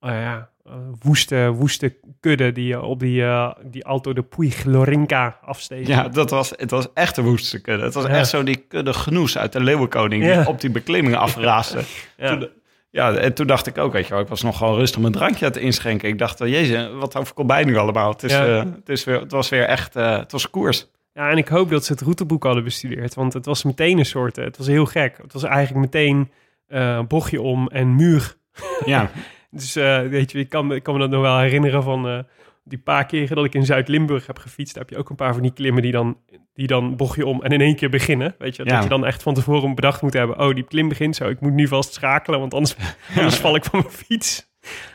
oh ja, eh, woeste, woeste kudde die eh, op die, eh, die Alto de Puig Lorinca afsteeg.
Ja, dat was, het was echt de woeste kudde. Het was
Ja.
echt zo die kudde genoes uit de Leeuwenkoning
Ja.
die op die beklimming afraasde.
Ja.
Toen- Ja, en toen dacht ik ook, weet je wel, ik was nog gewoon rustig mijn drankje aan het inschenken. Ik dacht, wel, jezus, wat overkomt mij nu allemaal? Het, is,
Ja.
eh, het, is weer, het was weer echt, eh, het was koers.
Ja, en ik hoop dat ze het routeboek hadden bestudeerd. Want het was meteen een soort... eh, Het was heel gek. Het was eigenlijk meteen eh, bochtje om en muur
Ja,
Dus eh, weet je, ik kan, me- ik kan me dat nog wel herinneren van eh, die paar keren dat ik in Zuid-Limburg heb gefietst. Daar heb je ook een paar van die klimmen die dan, die dan bocht je om en in één keer beginnen. Weet je,
Ja.
dat je dan echt van tevoren bedacht moet hebben. Oh, die klim begint zo. Ik moet nu vast schakelen, want anders, anders val ik van mijn fiets.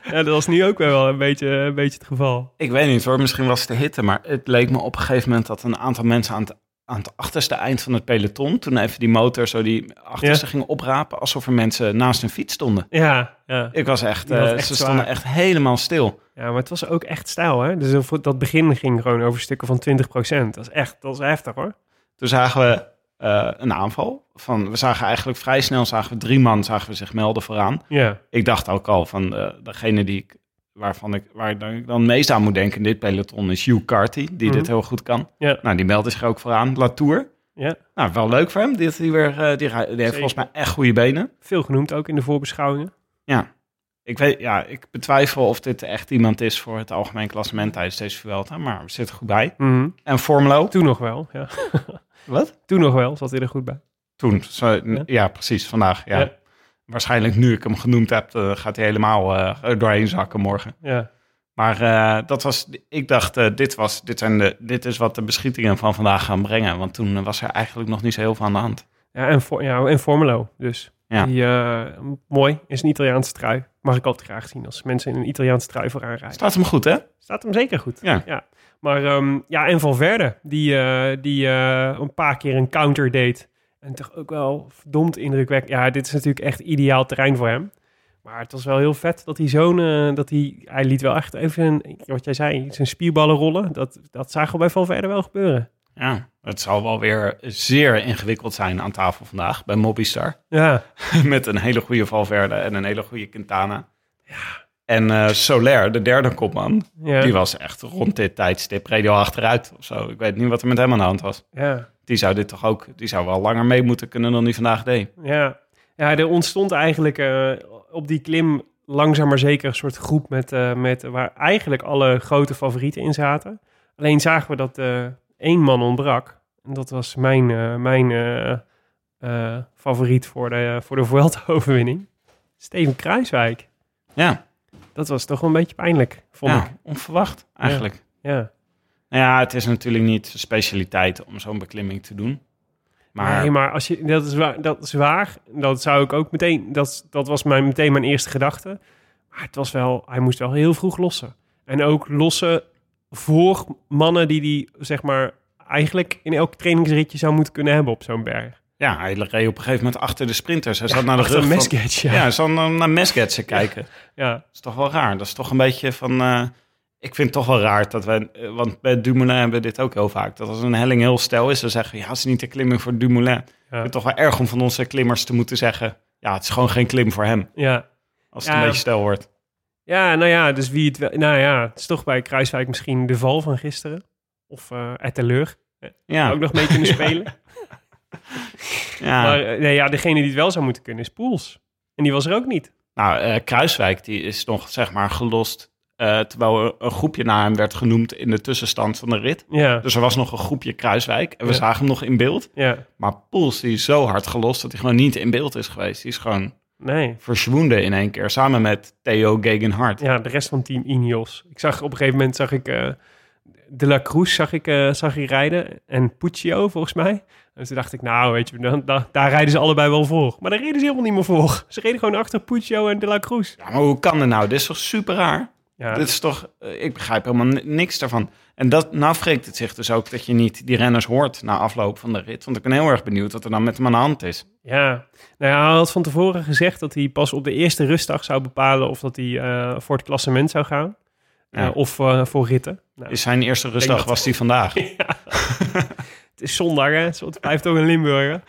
Ja, dat was nu ook wel een beetje, een beetje het geval.
ik weet niet hoor, misschien was het de hitte, maar het leek me op een gegeven moment dat een aantal mensen aan het, aan het achterste eind van het peloton, toen even die motor zo die achterste
Ja.
ging oprapen, alsof er mensen naast hun fiets stonden.
Ja, ja.
Ik was echt,
Die was
eh,
echt
ze
zwaar.
stonden echt helemaal stil.
ja, maar het was ook echt stijl, hè? Dus voor dat begin ging gewoon over stukken van 20%. Dat is echt, dat is heftig, hoor.
Toen zagen we eh, een aanval. Van, we zagen eigenlijk vrij snel, zagen we drie man zagen we zich melden vooraan.
Ja,
Ik dacht ook al van eh, degene die ik waarvan ik, waar ik dan- ik dan het meest aan moet denken in dit peloton is Hugh Carty, die
Mhm.
dit heel goed kan.
Ja.
Nou, die meldt zich ook vooraan. Latour.
Ja.
Nou, wel leuk voor hem. Die, die, weer, eh, die, ra- die heeft volgens mij echt goede benen.
Veel genoemd ook in de voorbeschouwingen.
Ik, weet, ja, ik betwijfel of dit echt iemand is voor het algemeen klassement tijdens deze Vuelta, maar we zitten goed bij. En Formelo?
Toen nog wel, ja.
Wat?
Toen nog wel, zat hij er goed bij.
Toen. Zo, n-
Ja.
ja. precies. Vandaag, ja.
Ja.
Waarschijnlijk nu ik hem genoemd heb, eh, gaat hij helemaal eh, er doorheen zakken morgen.
Ja.
Maar eh, dat was, ik dacht, eh, dit, was, dit, zijn de, dit is wat de beschietingen van vandaag gaan brengen. Want toen eh, was er eigenlijk nog niet zo heel veel aan de hand.
Ja, en, voor, ja, en Formelo dus.
Ja.
Die, eh, m- mooi, is een Italiaanse trui. Mag ik altijd graag zien als mensen in een Italiaanse trui vooraan rijden.
Staat hem goed, hè?
Staat hem zeker goed.
Ja.
Maar ehm, ja, en Valverde, die, eh, die eh, een paar keer een counter deed. En toch ook wel verdomd indrukwekkend. Ja, dit is natuurlijk echt ideaal terrein voor hem. Maar het was wel heel vet dat hij zo'n... eh, dat hij, hij liet wel echt even, een, wat jij zei, zijn spierballen rollen. Dat, dat zagen we bij Valverde wel gebeuren.
Ja, het zal wel weer zeer ingewikkeld zijn aan tafel vandaag bij Mobistar.
Ja,
Met een hele goede Valverde en een hele goede Quintana. En eh Soler, de derde kopman,
ja,
die was echt rond dit tijdstip radio achteruit of zo. Ik weet niet wat er met hem aan de hand was.
ja.
Die zou dit toch ook, die zou wel langer mee moeten kunnen dan die vandaag deed.
Ja, ja er ontstond eigenlijk eh, op die klim langzaam maar zeker een soort groep met, eh, met waar eigenlijk alle grote favorieten in zaten. Alleen zagen we dat eh, één man ontbrak. En dat was mijn, eh, mijn eh, eh, favoriet voor de, voor de Vuelta-overwinning. Steven Kruiswijk.
Ja,
Dat was toch wel een beetje pijnlijk, vond
ja,
ik.
onverwacht eigenlijk.
Ja.
Nou ja, het is natuurlijk niet zijn specialiteit om zo'n beklimming te doen. Maar,
Maar, nee, maar als je, dat, is waar, dat is waar. Dat zou ik ook meteen... Dat, is- dat was mijn, meteen mijn eerste gedachte. Maar het was wel... Hij moest wel heel vroeg lossen. En ook lossen voor mannen die die zeg maar... eigenlijk in elk trainingsritje zou moeten kunnen hebben op zo'n berg.
ja, hij reed op een gegeven moment achter de sprinters. Hij zat naar de
Achter
rug van,
een mescatch, ja.
Ja,
ja.
ze zal dan naar Mesgetsen kijken. Dat is toch wel raar. Dat is toch een beetje van... eh, ik vind het toch wel raar dat wij... eh, Want bij Dumoulin hebben we dit ook heel vaak. Dat als een helling heel stijl is, dan zeggen we... Ja, het is niet de klimming voor Dumoulin. Ik vind het toch wel erg om van onze klimmers te moeten zeggen... Ja, het is gewoon geen klim voor hem.
ja.
Als het
Ja.
een beetje stijl wordt.
Ja, nou ja, dus wie het wel... Nou ja, het is toch bij Kruiswijk misschien de val van gisteren. Of eh Etteleur.
Ja,
Ook nog mee kunnen spelen.
ja.
Maar eh, nee, ja, degene die het wel zou moeten kunnen is Poels. En die was er ook niet.
nou, eh, Kruiswijk die is nog zeg maar gelost... eh, terwijl er een groepje naar hem werd genoemd in de tussenstand van de rit.
Ja,
Dus er was nog een groepje Kruiswijk. En we
Ja.
zagen hem nog in beeld.
ja.
Maar Poels die is zo hard gelost dat hij gewoon niet in beeld is geweest. Die is gewoon
Nee.
verschwoende in één keer. Samen met Theo Gegenhardt.
Ja, de rest van team Ineos. Ik zag op een gegeven moment zag ik eh, De La Cruz zag ik, eh, zag ik rijden en Puccio volgens mij. En toen dacht ik, nou weet je, dan, da- daar rijden ze allebei wel voor. Maar daar reden ze helemaal niet meer voor. Ze reden gewoon achter Puccio en De La Cruz.
Ja, maar hoe kan dat nou? Dit is toch super raar?
Ja,
Dit is toch, eh, ik begrijp helemaal ni- niks daarvan. En dat, nou wreekt het zich dus ook dat je niet die renners hoort na afloop van de rit. Want ik ben heel erg benieuwd wat er dan met hem aan de hand is.
ja. Nou ja, hij had van tevoren gezegd dat hij pas op de eerste rustdag zou bepalen of dat hij eh, voor het klassement zou gaan.
Ja.
Eh, of eh, voor ritten. Nou,
Is zijn eerste rustdag
dat-
was die vandaag.
het is zondag, hè? Het blijft ook een Limburger.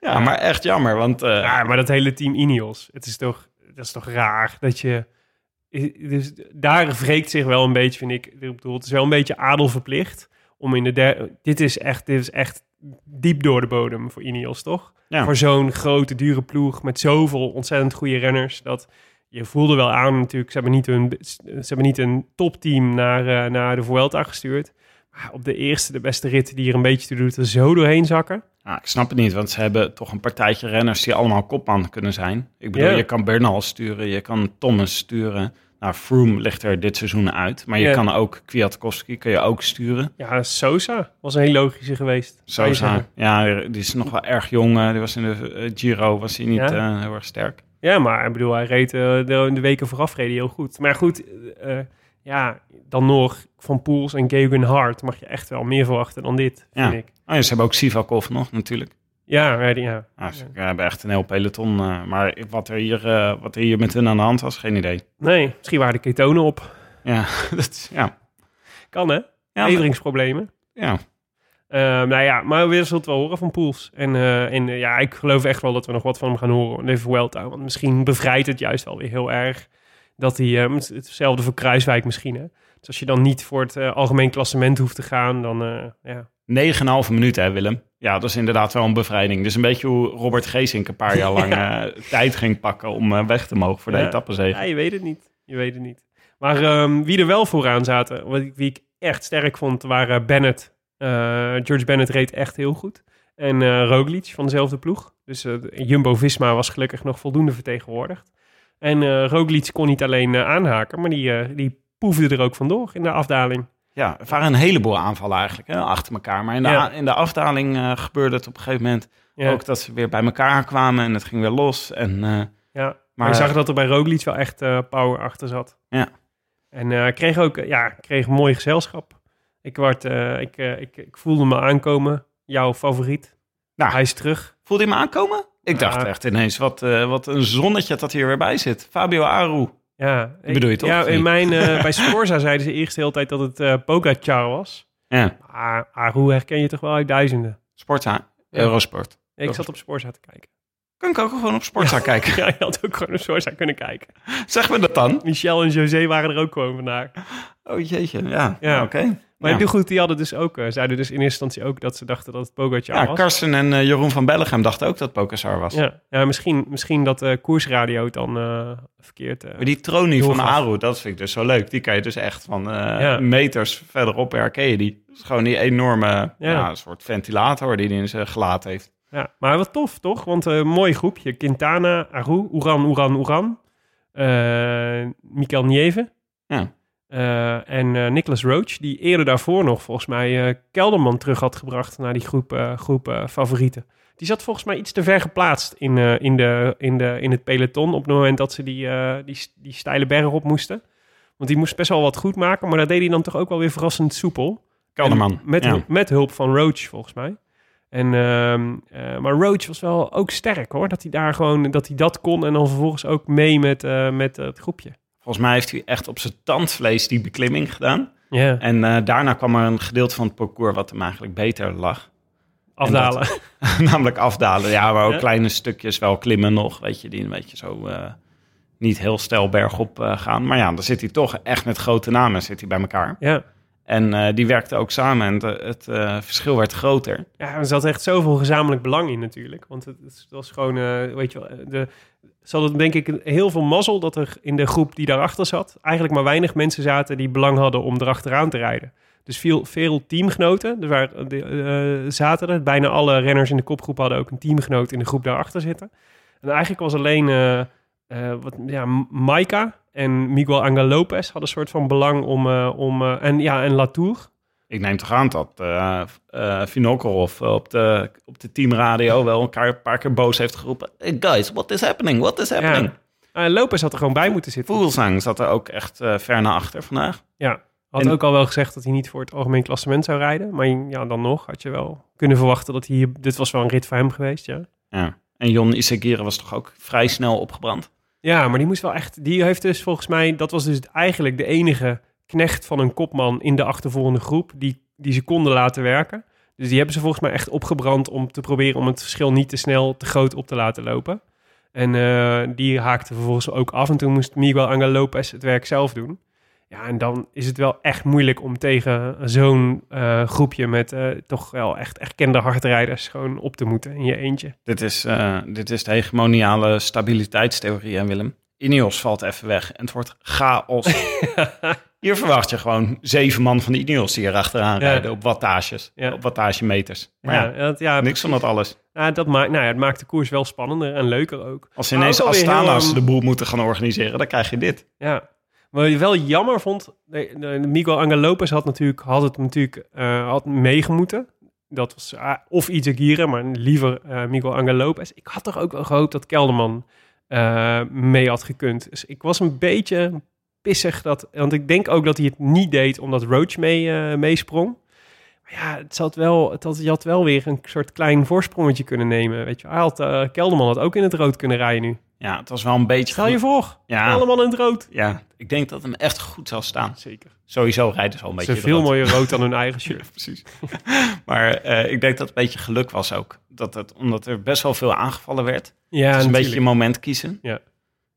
Ja, maar echt jammer, want eh,
Ja, maar dat hele team Ineos, het is toch, dat is toch raar dat je... Dus daar wreekt zich wel een beetje, vind ik. Ik bedoel, het is wel een beetje adelverplicht om in de derde... Dit is echt, dit is echt diep door de bodem voor Ineos, toch?
Ja.
Voor zo'n grote, dure ploeg met zoveel ontzettend goede renners. Dat je voelde wel aan natuurlijk, ze hebben niet hun, ze hebben niet een topteam naar, eh, naar de Vuelta gestuurd. Maar op de eerste, de beste rit die er een beetje toe doet, er zo doorheen zakken.
nou, ik snap het niet. Want ze hebben toch een partijtje renners die allemaal kopman kunnen zijn. Ik bedoel,
Ja.
je kan Bernal sturen, je kan Thomas sturen. Nou, Froome ligt er dit seizoen uit. Maar je
Ja.
kan ook Kwiatkowski kun je ook sturen.
Ja, Sosa was een heel logische geweest. zou je zeggen.
Sosa. Ja, die is nog wel erg jong. eh, Die was in de eh, Giro, was hij niet
Ja.
eh, heel erg sterk.
Ja, maar ik bedoel, hij reed eh, de, de weken vooraf reed hij heel goed. Maar goed, eh, eh, ja, dan nog van Poels en Gegen Hart mag je echt wel meer verwachten dan dit, vind
Ja.
ik.
Oh, ja, ze hebben ook Sivakov nog, natuurlijk.
Ja, maar die- ja.
Nou, ze hebben echt een heel peloton. eh, maar wat er, hier, eh, wat er hier met hun aan de hand was, geen idee.
Nee, misschien waren de ketonen op.
Ja, dat, is- ja.
Kan, hè?
Ja, maar-
Leveringsproblemen.
ja.
Eh, nou ja, maar we zullen het wel horen van Poels. En, eh, en eh, ja, ik geloof echt wel dat we nog wat van hem gaan horen in de Vuelta. Want misschien bevrijdt het juist wel weer heel erg Dat hij, eh, het- hetzelfde voor Kruiswijk misschien. Hè? Dus als je dan niet voor het eh, algemeen klassement hoeft te gaan, dan eh, ja.
9,5 minuten, hè, Willem? Ja, dat is inderdaad wel een bevrijding. Dus een beetje hoe Robert Geesink een paar jaar lang eh, tijd ging pakken om eh, weg te mogen voor de
Ja.
etappenzege.
ja, je weet het niet. Je weet het niet. Maar ehm, wie er wel vooraan zaten, wat ik, wie ik echt sterk vond, waren Bennett. Eh, George Bennett reed echt heel goed. En eh, Roglic van dezelfde ploeg. Dus eh, Jumbo-Visma was gelukkig nog voldoende vertegenwoordigd. En eh Roglic kon niet alleen eh, aanhaken, maar die, eh, die poefde er ook vandoor in de afdaling.
Ja, er waren een heleboel aanvallen eigenlijk, hè, achter elkaar. Maar in de,
Ja.
a- in de afdaling eh, gebeurde het op een gegeven moment
Ja,
ook dat ze weer bij elkaar kwamen en het ging weer los. En eh,
ja. Maar,
Maar-
je zag dat er bij Roglic wel echt eh, power achter zat.
Ja.
En eh, kreeg ook eh, ja, kreeg mooi gezelschap. Ik, werd, eh, ik, eh, ik, ik voelde me aankomen. Jouw favoriet.
Nou.
Hij is terug.
voelde je hem aankomen? Ik
Ja.
dacht echt ineens, wat, eh, wat een zonnetje dat hier weer bij zit. Fabio Aru.
Ja, ik,
bedoel je toch,
Ja,
of niet?
in mijn, eh, bij Scorza zeiden ze eerst de hele tijd dat het eh Pogacar was.
Ja,
Maar Aru herken je toch wel uit duizenden.
Sportza, Eurosport.
Ik
Dat
zat op Sporza te kijken.
Kan ik ook gewoon op Sportza kijken?
Ja, je had ook gewoon op Sporza kunnen kijken.
Zeg me dat dan?
Michel en José waren er ook gewoon vandaag.
Oh jeetje, ja.
Ja.
Oké.
Maar
Ja.
doe goed, die hadden dus ook, eh, zeiden dus in eerste instantie ook dat ze dachten dat het Pogacar
Ja,
was.
Karsten en eh, Jeroen van Bellegem dachten ook dat Pokasar was.
Ja, ja misschien, misschien dat eh koersradio het dan eh, verkeerd... eh,
Maar die tronie van
Heel gaaf.
Aru, dat vind ik dus zo leuk. Die kan je dus echt van eh,
Ja.
meters verderop herken je die. Dat is gewoon die enorme ja, soort ventilator die hij in zijn gelaat heeft.
ja. Maar wat tof, toch? Want een mooi groepje. Quintana, Aru, Oeran, Oeran, Oeran. eh Mikel Nieve.
Ja.
Eh, en eh Nicholas Roach, die eerder daarvoor nog volgens mij eh Kelderman terug had gebracht naar die groep, eh, groep eh, favorieten. Die zat volgens mij iets te ver geplaatst in, eh, in, de, in, de, in het peloton op het moment dat ze die, eh, die, die steile berg op moesten. Want die moest best wel wat goed maken, maar dat deed hij dan toch ook wel weer verrassend soepel.
Kelderman.
En Met,
ja.
hulp- met hulp van Roach, volgens mij. En, ehm, eh, maar Roach was wel ook sterk hoor. Dat hij daar gewoon dat, hij dat kon. En dan vervolgens ook mee met, eh, met eh, het groepje.
Volgens mij heeft hij echt op zijn tandvlees die beklimming gedaan.
Ja,
En eh, daarna kwam er een gedeelte van het parcours wat hem eigenlijk beter lag.
afdalen.
Namelijk afdalen. Ja, maar ook
Ja.
kleine stukjes wel klimmen nog. Weet je, die een beetje zo eh, niet heel steil bergop eh, gaan. Maar ja, dan zit hij toch echt met grote namen zit hij bij elkaar.
ja.
En eh, die werkten ook samen en het, het, eh, verschil werd groter.
ja, er zat echt zoveel gezamenlijk belang in natuurlijk. Want het, het was gewoon, eh, weet je wel, eh, de, ze hadden denk ik heel veel mazzel dat er in de groep die daarachter zat... eigenlijk maar weinig mensen zaten die belang hadden om erachteraan te rijden. Dus veel, veel teamgenoten dus waar, de, eh, zaten er. Bijna alle renners in de kopgroep hadden ook een teamgenoot in de groep daarachter zitten. En eigenlijk was alleen eh eh, wat, ja, Maika en Miguel Angel Lopez hadden een soort van belang om... eh, om eh, en, ja, en Latour.
Ik neem toch aan dat eh eh Vinokorov op de, op de teamradio wel elkaar een paar keer boos heeft geroepen. Hey guys, what is happening? What is happening?
Ja. Eh, Lopez had er gewoon bij moeten zitten.
Vogelsang zat er ook echt eh, ver naar achter vandaag.
Ja, had
En-
ook al wel gezegd dat hij niet voor het algemeen klassement zou rijden. Maar ja, dan nog had je wel kunnen verwachten dat hij hier... Dit was wel een rit voor hem geweest, ja.
Ja. En Jon Isagire was toch ook vrij snel opgebrand.
Ja, maar die moest wel echt... Die heeft dus volgens mij... Dat was dus eigenlijk de enige knecht van een kopman in de achtervolgende groep... die, die ze konden laten werken. Dus die hebben ze volgens mij echt opgebrand om te proberen... om het verschil niet te snel te groot op te laten lopen. En eh, die haakte vervolgens ook af. En toen moest Miguel Angel Lopez het werk zelf doen. Ja, en dan is het wel echt moeilijk om tegen zo'n eh, groepje... met eh, toch wel echt erkende hardrijders gewoon op te moeten in je eentje.
Dit is, eh, dit is de hegemoniale stabiliteitstheorie, hè, Willem? Ineos valt even weg en het wordt chaos. hier verwacht je gewoon zeven man van de Ineos die hier achteraan
Ja.
rijden op wattages,
Ja.
op wattagemeters. Maar ja,
dat, ja
niks van dat alles.
Nou, dat maakt, nou ja, het maakt de koers wel spannender en leuker ook.
Als
Maar
ineens
ook alweer
Astana's
heel, ehm,
de boel moeten gaan organiseren, dan krijg je dit.
Ja. Wat je wel jammer vond, nee, nee, Miguel Angel Lopez had, natuurlijk, had het natuurlijk eh, had meegemoeten. Dat was ah, of Itagire, maar liever eh, Miguel Angel Lopez. Ik had toch ook wel gehoopt dat Kelderman eh, mee had gekund. Dus ik was een beetje pissig. Dat, want ik denk ook dat hij het niet deed omdat Roach mee, eh, meesprong. Maar ja, het zat wel, het had, je had wel weer een soort klein voorsprongetje kunnen nemen. Weet je. wel. Hij had, eh, Kelderman had ook in het rood kunnen rijden nu.
Ja, het was wel een beetje...
Stel je voor,
ja,
Kelderman in het rood.
ja, ik denk dat hem echt goed zal staan.
Zeker.
Sowieso rijden ze al een beetje
Ze veel
eruit.
mooier rood dan hun eigen shirt.
precies. maar eh, ik denk dat het een beetje geluk was ook. Dat het, omdat er best wel veel aangevallen werd. het is
Ja,
Dus een
natuurlijk.
beetje je moment kiezen.
Ja.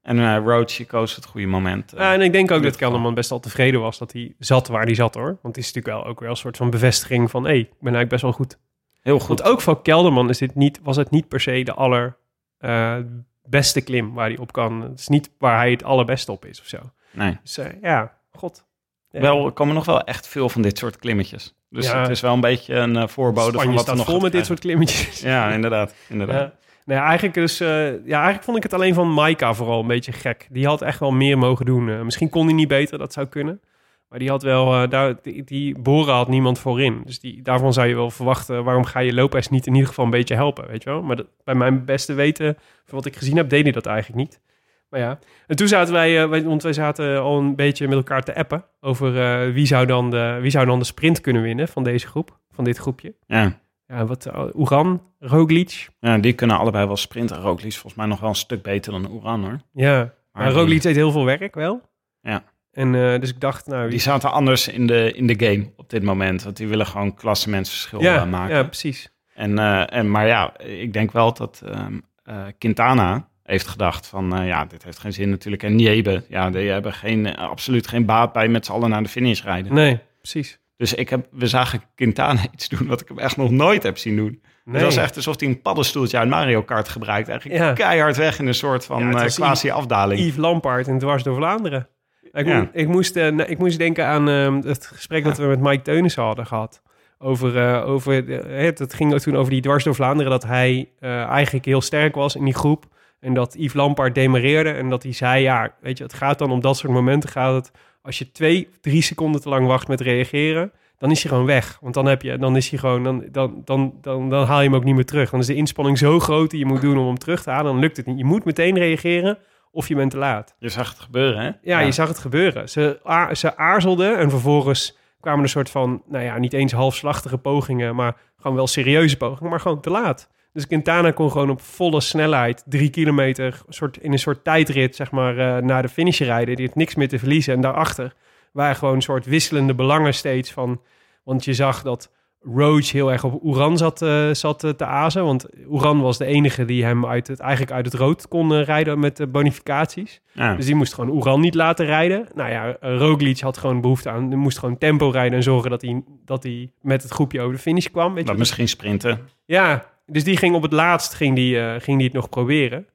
En eh Roach, je koos het goede moment. eh.
Ja, en ik denk ook
dit
dat
geval.
Kelderman best wel tevreden was dat hij zat waar hij zat hoor. Want het is natuurlijk wel ook wel een soort van bevestiging van hé, hey, ik ben eigenlijk best wel goed.
heel goed.
Want ook voor Kelderman is dit niet, was het niet per se de aller eh, beste klim waar hij op kan. Het is niet waar hij het allerbeste op is of zo.
Nee.
Dus eh, ja, god. Ja.
Wel, er komen nog wel echt veel van dit soort klimmetjes. Dus
Ja.
het is wel een beetje een eh, voorbode
Spanje
van wat er
staat
nog
vol
gaat
met dit
krijgen.
soort klimmetjes.
Ja, inderdaad. inderdaad.
Eh, Ja. Nee, eigenlijk, dus, eh, ja, eigenlijk vond ik het alleen van Maika vooral een beetje gek. Die had echt wel meer mogen doen. Eh, misschien kon hij niet beter, dat zou kunnen. Maar die had wel, eh, daar, die, die Bora had niemand voorin. Dus die, daarvan zou je wel verwachten, eh, waarom ga je Lopez niet in ieder geval een beetje helpen, weet je wel? Maar dat- bij mijn beste weten, van wat ik gezien heb, deed hij dat eigenlijk niet. Maar ja, en toen zaten wij, eh, wij- want wij zaten al een beetje met elkaar te appen over eh, wie, zou dan de, wie zou dan de sprint kunnen winnen van deze groep, van dit groepje.
Ja.
Ja, wat, eh, Oeran, Roglic,
Ja, die kunnen allebei wel sprinten. Roglic is volgens mij nog wel een stuk beter dan Oeran, hoor.
Ja, maar
die-
Roglic deed heel veel werk wel.
Ja.
En eh, dus ik dacht, nou...
Die zaten anders in de, in de game op dit moment. Want die willen gewoon klassementsverschil
ja,
eh, maken.
ja, precies.
En, eh, en, maar ja, ik denk wel dat ehm, eh, Quintana heeft gedacht van... eh, ja, dit heeft geen zin natuurlijk. En Niebe, ja, die hebben geen, eh, absoluut geen baat bij met z'n allen naar de finish rijden.
Nee, precies.
Dus ik heb, we zagen Quintana iets doen wat ik hem echt nog nooit heb zien doen.
Nee.
Het was Dus echt alsof hij een paddenstoeltje uit Mario Kart gebruikt. Eigenlijk
Ja.
keihard weg in een soort van
Ja, het
eh,
was
quasi-afdaling.
Yves Lampaard en Dwars door Vlaanderen. Ik,
Ja.
moest, ik, moest, eh, nou, ik moest denken aan ehm, het gesprek dat we met Mike Teunissen hadden gehad. Over, eh, over, de- het, het ging toen over die Dwars door Vlaanderen... dat hij eh, eigenlijk heel sterk was in die groep. En dat Yves Lampaard demareerde. En dat hij zei, ja, weet je, het gaat dan om dat soort momenten gaat het... Als je twee, drie seconden te lang wacht met reageren, dan is hij gewoon weg. Want dan heb je, dan is hij gewoon, dan, dan, dan, dan, dan haal je hem ook niet meer terug. Dan is de inspanning zo groot die je moet doen om hem terug te halen. Dan lukt het niet. Je moet meteen reageren of je bent te laat.
Je zag het gebeuren, hè?
Ja, je zag het gebeuren. Ze, a- ze aarzelden en vervolgens kwamen een soort van, nou ja, niet eens halfslachtige pogingen, maar gewoon wel serieuze pogingen, maar gewoon te laat. Dus Quintana kon gewoon op volle snelheid drie kilometer soort, in een soort tijdrit, zeg maar, eh, naar de finish rijden. Die had niks meer te verliezen. En daarachter waren gewoon een soort wisselende belangen steeds van... Want je zag dat Roach heel erg op Oeran zat, eh, zat eh, te azen. Want Oeran was de enige die hem uit het, eigenlijk uit het rood kon eh, rijden met de bonificaties.
Ja.
Dus die moest gewoon Oeran niet laten rijden. Nou ja, eh, Roglic had gewoon behoefte aan... Die moest gewoon tempo rijden en zorgen dat hij, dat hij met het groepje over de finish kwam. Weet je?
Dat
wel.
misschien sprinten.
Ja, dus die ging op het laatst ging die, eh, ging die het nog proberen.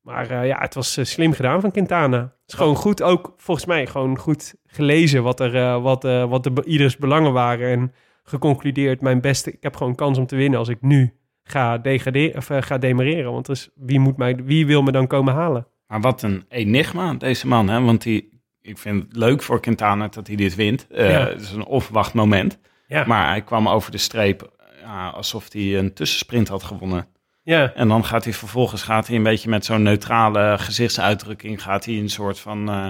Maar eh, ja, het was eh, slim gedaan van Quintana. Het is gewoon goed, ook volgens mij gewoon goed gelezen wat, er, eh, wat, eh, wat de be- ieders belangen waren. En geconcludeerd, mijn beste, ik heb gewoon kans om te winnen als ik nu ga, degradeer, of, eh, ga demereren. Want dus wie, moet mij, wie wil me dan komen halen?
Maar wat een enigma, deze man, hè? Want die, ik vind het leuk voor Quintana dat hij dit wint. Eh,
Ja.
Het is een onverwacht moment.
Ja.
Maar hij kwam over de streep ja, alsof hij een tussensprint had gewonnen.
Ja,
En dan gaat hij vervolgens gaat hij een beetje met zo'n neutrale gezichtsuitdrukking... gaat hij een soort van... eh,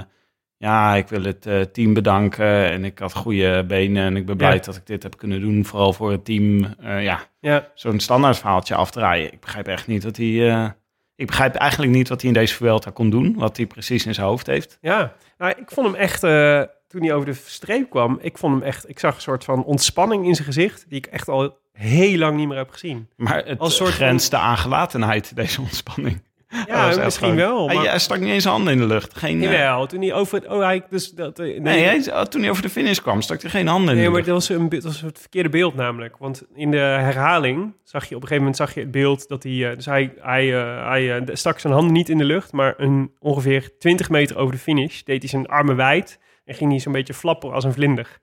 ja, ik wil het eh, team bedanken en ik had goede benen... en ik ben blij
Ja.
dat ik dit heb kunnen doen, vooral voor het team. Eh, ja,
ja.
zo'n standaard verhaaltje afdraaien. Ik begrijp echt niet dat hij... eh, ik begrijp eigenlijk niet wat hij in deze Vuelta kon doen. Wat hij precies in zijn hoofd heeft.
Ja, nou, ik vond hem echt, eh, toen hij over de streep kwam, ik vond hem echt, ik zag een soort van ontspanning in zijn gezicht, die ik echt al heel lang niet meer heb gezien.
Maar het
Als soort van-
grenste aan gelatenheid, deze ontspanning. Dat
Ja,
was echt Ah,
misschien
gewoon-
wel.
Hij,
Maar,
hij stak niet eens zijn handen in de lucht. Geen, eh,
Jawel, toen hij over, oh, hij, dus dat, eh, nee,
nee, hij, oh, toen hij over de finish kwam, stak hij geen handen in
Nee,
de
maar
lucht.
dat was, een, be- dat was het verkeerde beeld namelijk. Want in de herhaling zag je op een gegeven moment zag je het beeld dat hij. eh, Dus hij, hij, eh, hij eh, de- stak zijn handen niet in de lucht, maar een, ongeveer 20 meter over de finish deed hij zijn armen wijd en ging hij zo'n beetje flappen als een vlinder.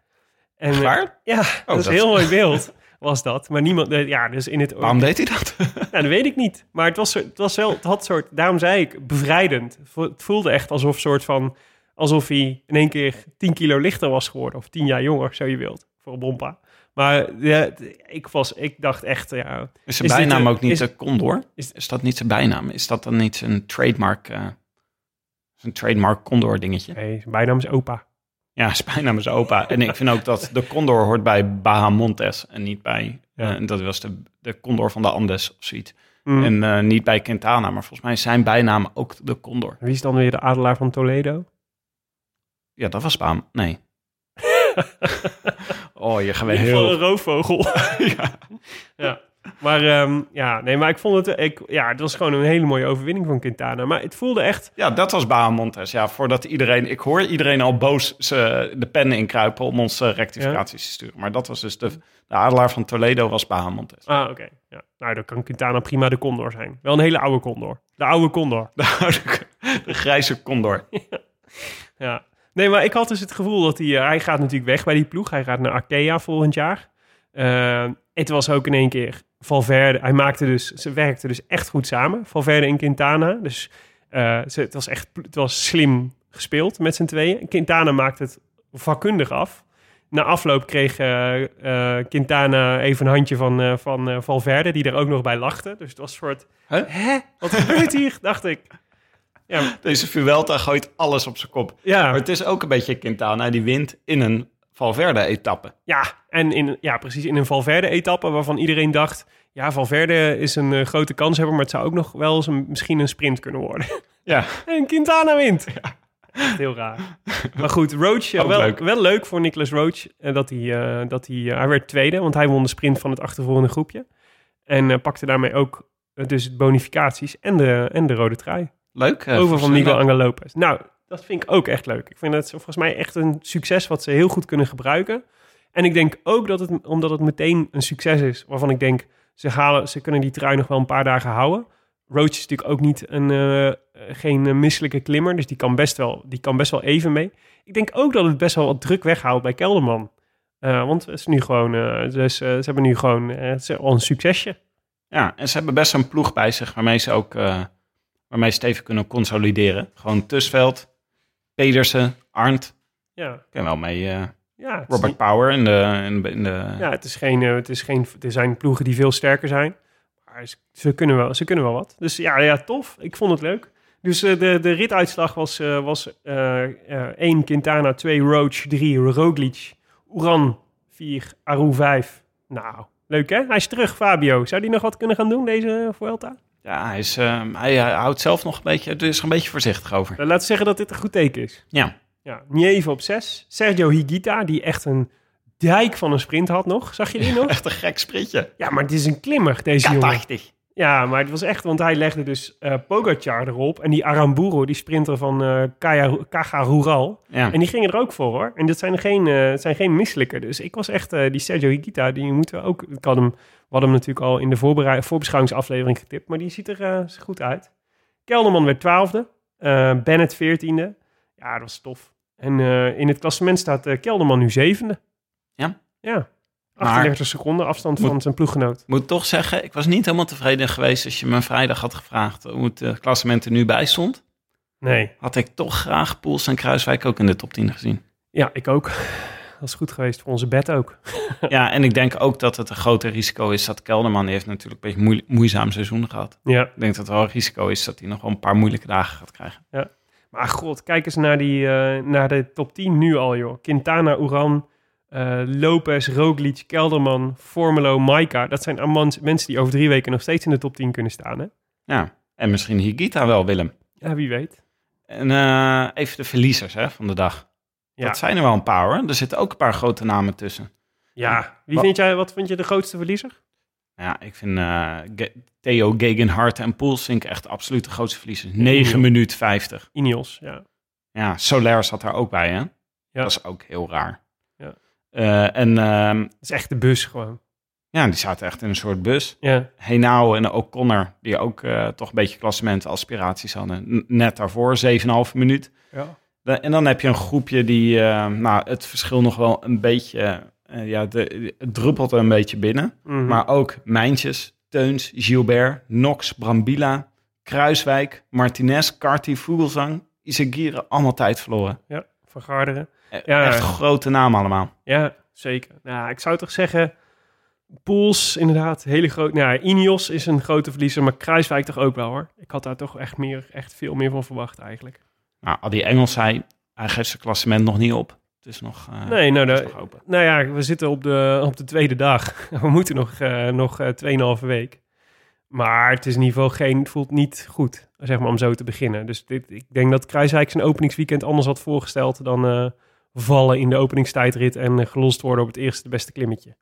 En, eh,
Waar?
Ja, dat is
Oh, dat-
een heel mooi beeld. Was dat, maar niemand, eh, ja, dus in het
Waarom deed hij dat?
nou, dat weet ik niet. Maar het was, zo- het was wel, het had soort, daarom zei ik, bevrijdend. Vo- Het voelde echt alsof soort van, alsof hij in één keer 10 kilo lichter was geworden. Of 10 jaar jonger, zo je wilt, voor een bompa. Maar ja, t- ik, was, ik dacht echt, ja,
Is zijn
Is dit
bijnaam
een-
ook niet
is-
de Condor?
is-
Is, dat niet zijn bijnaam? Is dat dan niet zijn trademark, eh, zijn trademark Condor dingetje?
nee, zijn bijnaam is opa.
Ja, zijn bijnaam is opa. En ik vind ook dat de Condor hoort bij Bahamontes en niet bij...
Ja.
eh, dat was de, de Condor van de Andes of zoiets.
Mm.
En eh, niet bij Quintana, maar volgens mij is zijn bijnaam ook de Condor.
Wie is dan weer de adelaar van Toledo?
Ja, dat was Baam. Nee. oh, je geweten.
Heel. Een roofvogel.
Ja.
ja. Maar ehm, ja, nee, maar ik vond het... Ik, ja, het was gewoon een hele mooie overwinning van Quintana. Maar het voelde echt...
Ja, dat was Bahamontes. Ja, voordat iedereen... Ik hoor iedereen al boos ze de pennen inkruipen om ons eh, rectificaties te sturen. Maar dat was dus de, de adelaar van Toledo was Bahamontes.
Ah, oké. Ja. Nou, dan kan Quintana prima de Condor zijn. Wel een hele oude Condor. De oude Condor.
Oh, De, grijze condor.
Ja. Nee, maar ik had dus het gevoel dat hij... eh, hij gaat natuurlijk weg bij die ploeg. Hij gaat naar Arkea volgend jaar. Eh, het was ook in één keer Valverde. Hij maakte dus... Ze werkten dus echt goed samen. Valverde en Quintana. Dus eh, ze, het was echt... Het was slim gespeeld met z'n tweeën. Quintana maakte het vakkundig af. Na afloop kreeg eh, eh, Quintana even een handje van, eh, van eh, Valverde... die er ook nog bij lachte. Dus het was een soort...
Huh?
Hè? Wat gebeurt hier? dacht ik. Ja,
Deze Vuelta gooit alles op zijn kop.
ja.
Maar het is ook een beetje Quintana. Die wint in een Valverde-etappe.
Ja, en in, ja, precies in een Valverde-etappe waarvan iedereen dacht... ja, Valverde is een eh, grote kanshebber... maar het zou ook nog wel eens een, misschien een sprint kunnen worden.
Ja,
en Quintana wint. Echt heel raar. Maar goed, Roach, eh,
Ook
wel,
leuk.
wel leuk voor Nicolas Roach... eh, dat hij, eh, dat hij, eh, hij werd tweede, want hij won de sprint van het achtervolgende groepje. En eh, pakte daarmee ook eh, dus bonificaties en de, en de rode trui.
leuk. eh,
Over van
voor
Miguel
Senna.
Angel Lopez. Nou, dat vind ik ook echt leuk. Ik vind dat volgens mij echt een succes wat ze heel goed kunnen gebruiken. En ik denk ook dat het, omdat het meteen een succes is, waarvan ik denk, ze, halen, ze kunnen die trui nog wel een paar dagen houden. Roach is natuurlijk ook niet een, eh, geen eh, misselijke klimmer, dus die kan, best wel, die kan best wel even mee. Ik denk ook dat het best wel wat druk weghaalt bij Kelderman. Eh, want het is nu gewoon, eh, dus, eh, ze hebben nu gewoon eh, het is al een succesje.
Ja, en ze hebben best een ploeg bij zich waarmee ze ook eh, waarmee ze het even kunnen consolideren. Gewoon Tusveld, Pedersen, Arndt.
Ja,
Ik ken wel mee eh,
ja het is
Robert
niet-
Power in de... In de, in de
Ja, het is geen, eh, het is geen, er zijn ploegen die veel sterker zijn. Maar ze, ze kunnen, wel, ze kunnen wel wat. Dus ja, ja, tof. Ik vond het leuk. Dus eh, de, de rituitslag was, eh, was eh eh, 1 Quintana, 2 Roach, 3 Roglic, Uran 4, Aru 5. Nou, leuk hè? Hij is terug, Fabio. Zou die nog wat kunnen gaan doen, deze eh, Vuelta?
Ja, hij, is, eh, hij, hij houdt zelf nog een beetje, er is er een beetje voorzichtig over.
Nou, laten we zeggen dat dit een goed teken is.
Ja,
Ja, Nieve op 6. Sergio Higuita, die echt een dijk van een sprint had nog. Zag je die nog?
echt een gek sprintje.
Ja, maar het is een klimmer, deze jongen.
Prachtig.
Ja, maar het was echt, want hij legde dus eh Pogacar erop. En die Aramburo, die sprinter van eh Kaya, Caja Rural.
Ja.
En die gingen er ook voor hoor. En dat zijn geen, eh, het zijn geen misselijke. Dus ik was echt, eh, die Sergio Higuita, die moeten we ook... Ik had hem, we hadden hem natuurlijk al in de voorberei- voorbeschouwingsaflevering getipt. Maar die ziet er eh, goed uit. Kelderman werd twaalfde. eh Bennett veertiende. Ja, dat was tof. En eh, in het klassement staat eh, Kelderman nu zevende.
Ja?
Ja.
Maar-
38 seconden afstand van zijn ploeggenoot.
Ik moet toch zeggen, ik was niet helemaal tevreden geweest als je me vrijdag had gevraagd hoe het eh, klassement er nu bij stond.
Nee.
Had ik toch graag Poels en Kruiswijk ook in de top 10 gezien.
Ja, ik ook. Dat is goed geweest voor onze bed ook.
Ja, en ik denk ook dat het een groter risico is dat Kelderman die heeft natuurlijk een beetje moe- moeizaam seizoen gehad.
Ja,
Ik denk dat er wel een risico is dat hij nog wel een paar moeilijke dagen gaat krijgen.
maar god, kijk eens naar, die, eh, naar de top 10 nu al, joh. Quintana, Uran, eh, Lopez, Roglic, Kelderman, Formelo, Maika. Dat zijn allemaal mensen die over drie weken nog steeds in de top 10 kunnen staan, hè?
Ja, en misschien Higita wel, Willem.
Ja, wie weet.
En eh, even de verliezers hè, van de dag.
Ja.
Dat zijn er wel een paar hoor. Er zitten ook een paar grote namen tussen.
Ja. Wie
Wat-
vind jij, wat vind je de grootste verliezer?
Ja, ik vind eh, Ge- Theo Gegenhardt en Poelsink echt absoluut de grootste verliezers. 9 minuut 50.
Ineos, ja.
Ja, Soler zat daar ook bij hè. Dat is ook heel raar.
Ja.
Eh, en ehm,
Dat is echt de bus gewoon.
ja, die zaten echt in een soort bus.
Ja,
Henao en O'Connor, die ook eh, toch een beetje klassementaspiraties hadden. N- net daarvoor, 7,5 minuut.
ja.
Da- en dan heb je een groepje die, eh, nou, het verschil nog wel een beetje, eh, ja, de, het druppelt een beetje binnen.
Mhm.
Maar ook Mijntjes, Teuns, Gilbert, Knox, Brambila, Kruiswijk, Martinez, Carty, Vogelsang, Izagira, allemaal tijd verloren.
ja, van Garderen.
E-
Ja.
Echt grote namen allemaal.
Ja, zeker. Nou, ik zou toch zeggen... Pools, inderdaad, hele groot. Nou, ja, Ineos is een grote verliezer, maar Kruiswijk toch ook wel, hoor. Ik had daar toch echt, meer, echt veel meer van verwacht, eigenlijk.
Nou, al die Engels zei, hij geeft zijn klassement nog niet op. Het is nog, eh,
nee, nou,
het is
de-
nog open.
nou ja, we zitten op de, op de tweede dag. We moeten nog, eh nog eh 2,5 week. Maar het is in ieder geval geen, het voelt niet goed, zeg maar, om zo te beginnen. Dus dit, ik denk dat Kruiswijk zijn openingsweekend anders had voorgesteld dan eh, vallen in de openingstijdrit en eh, gelost worden op het eerste beste klimmetje.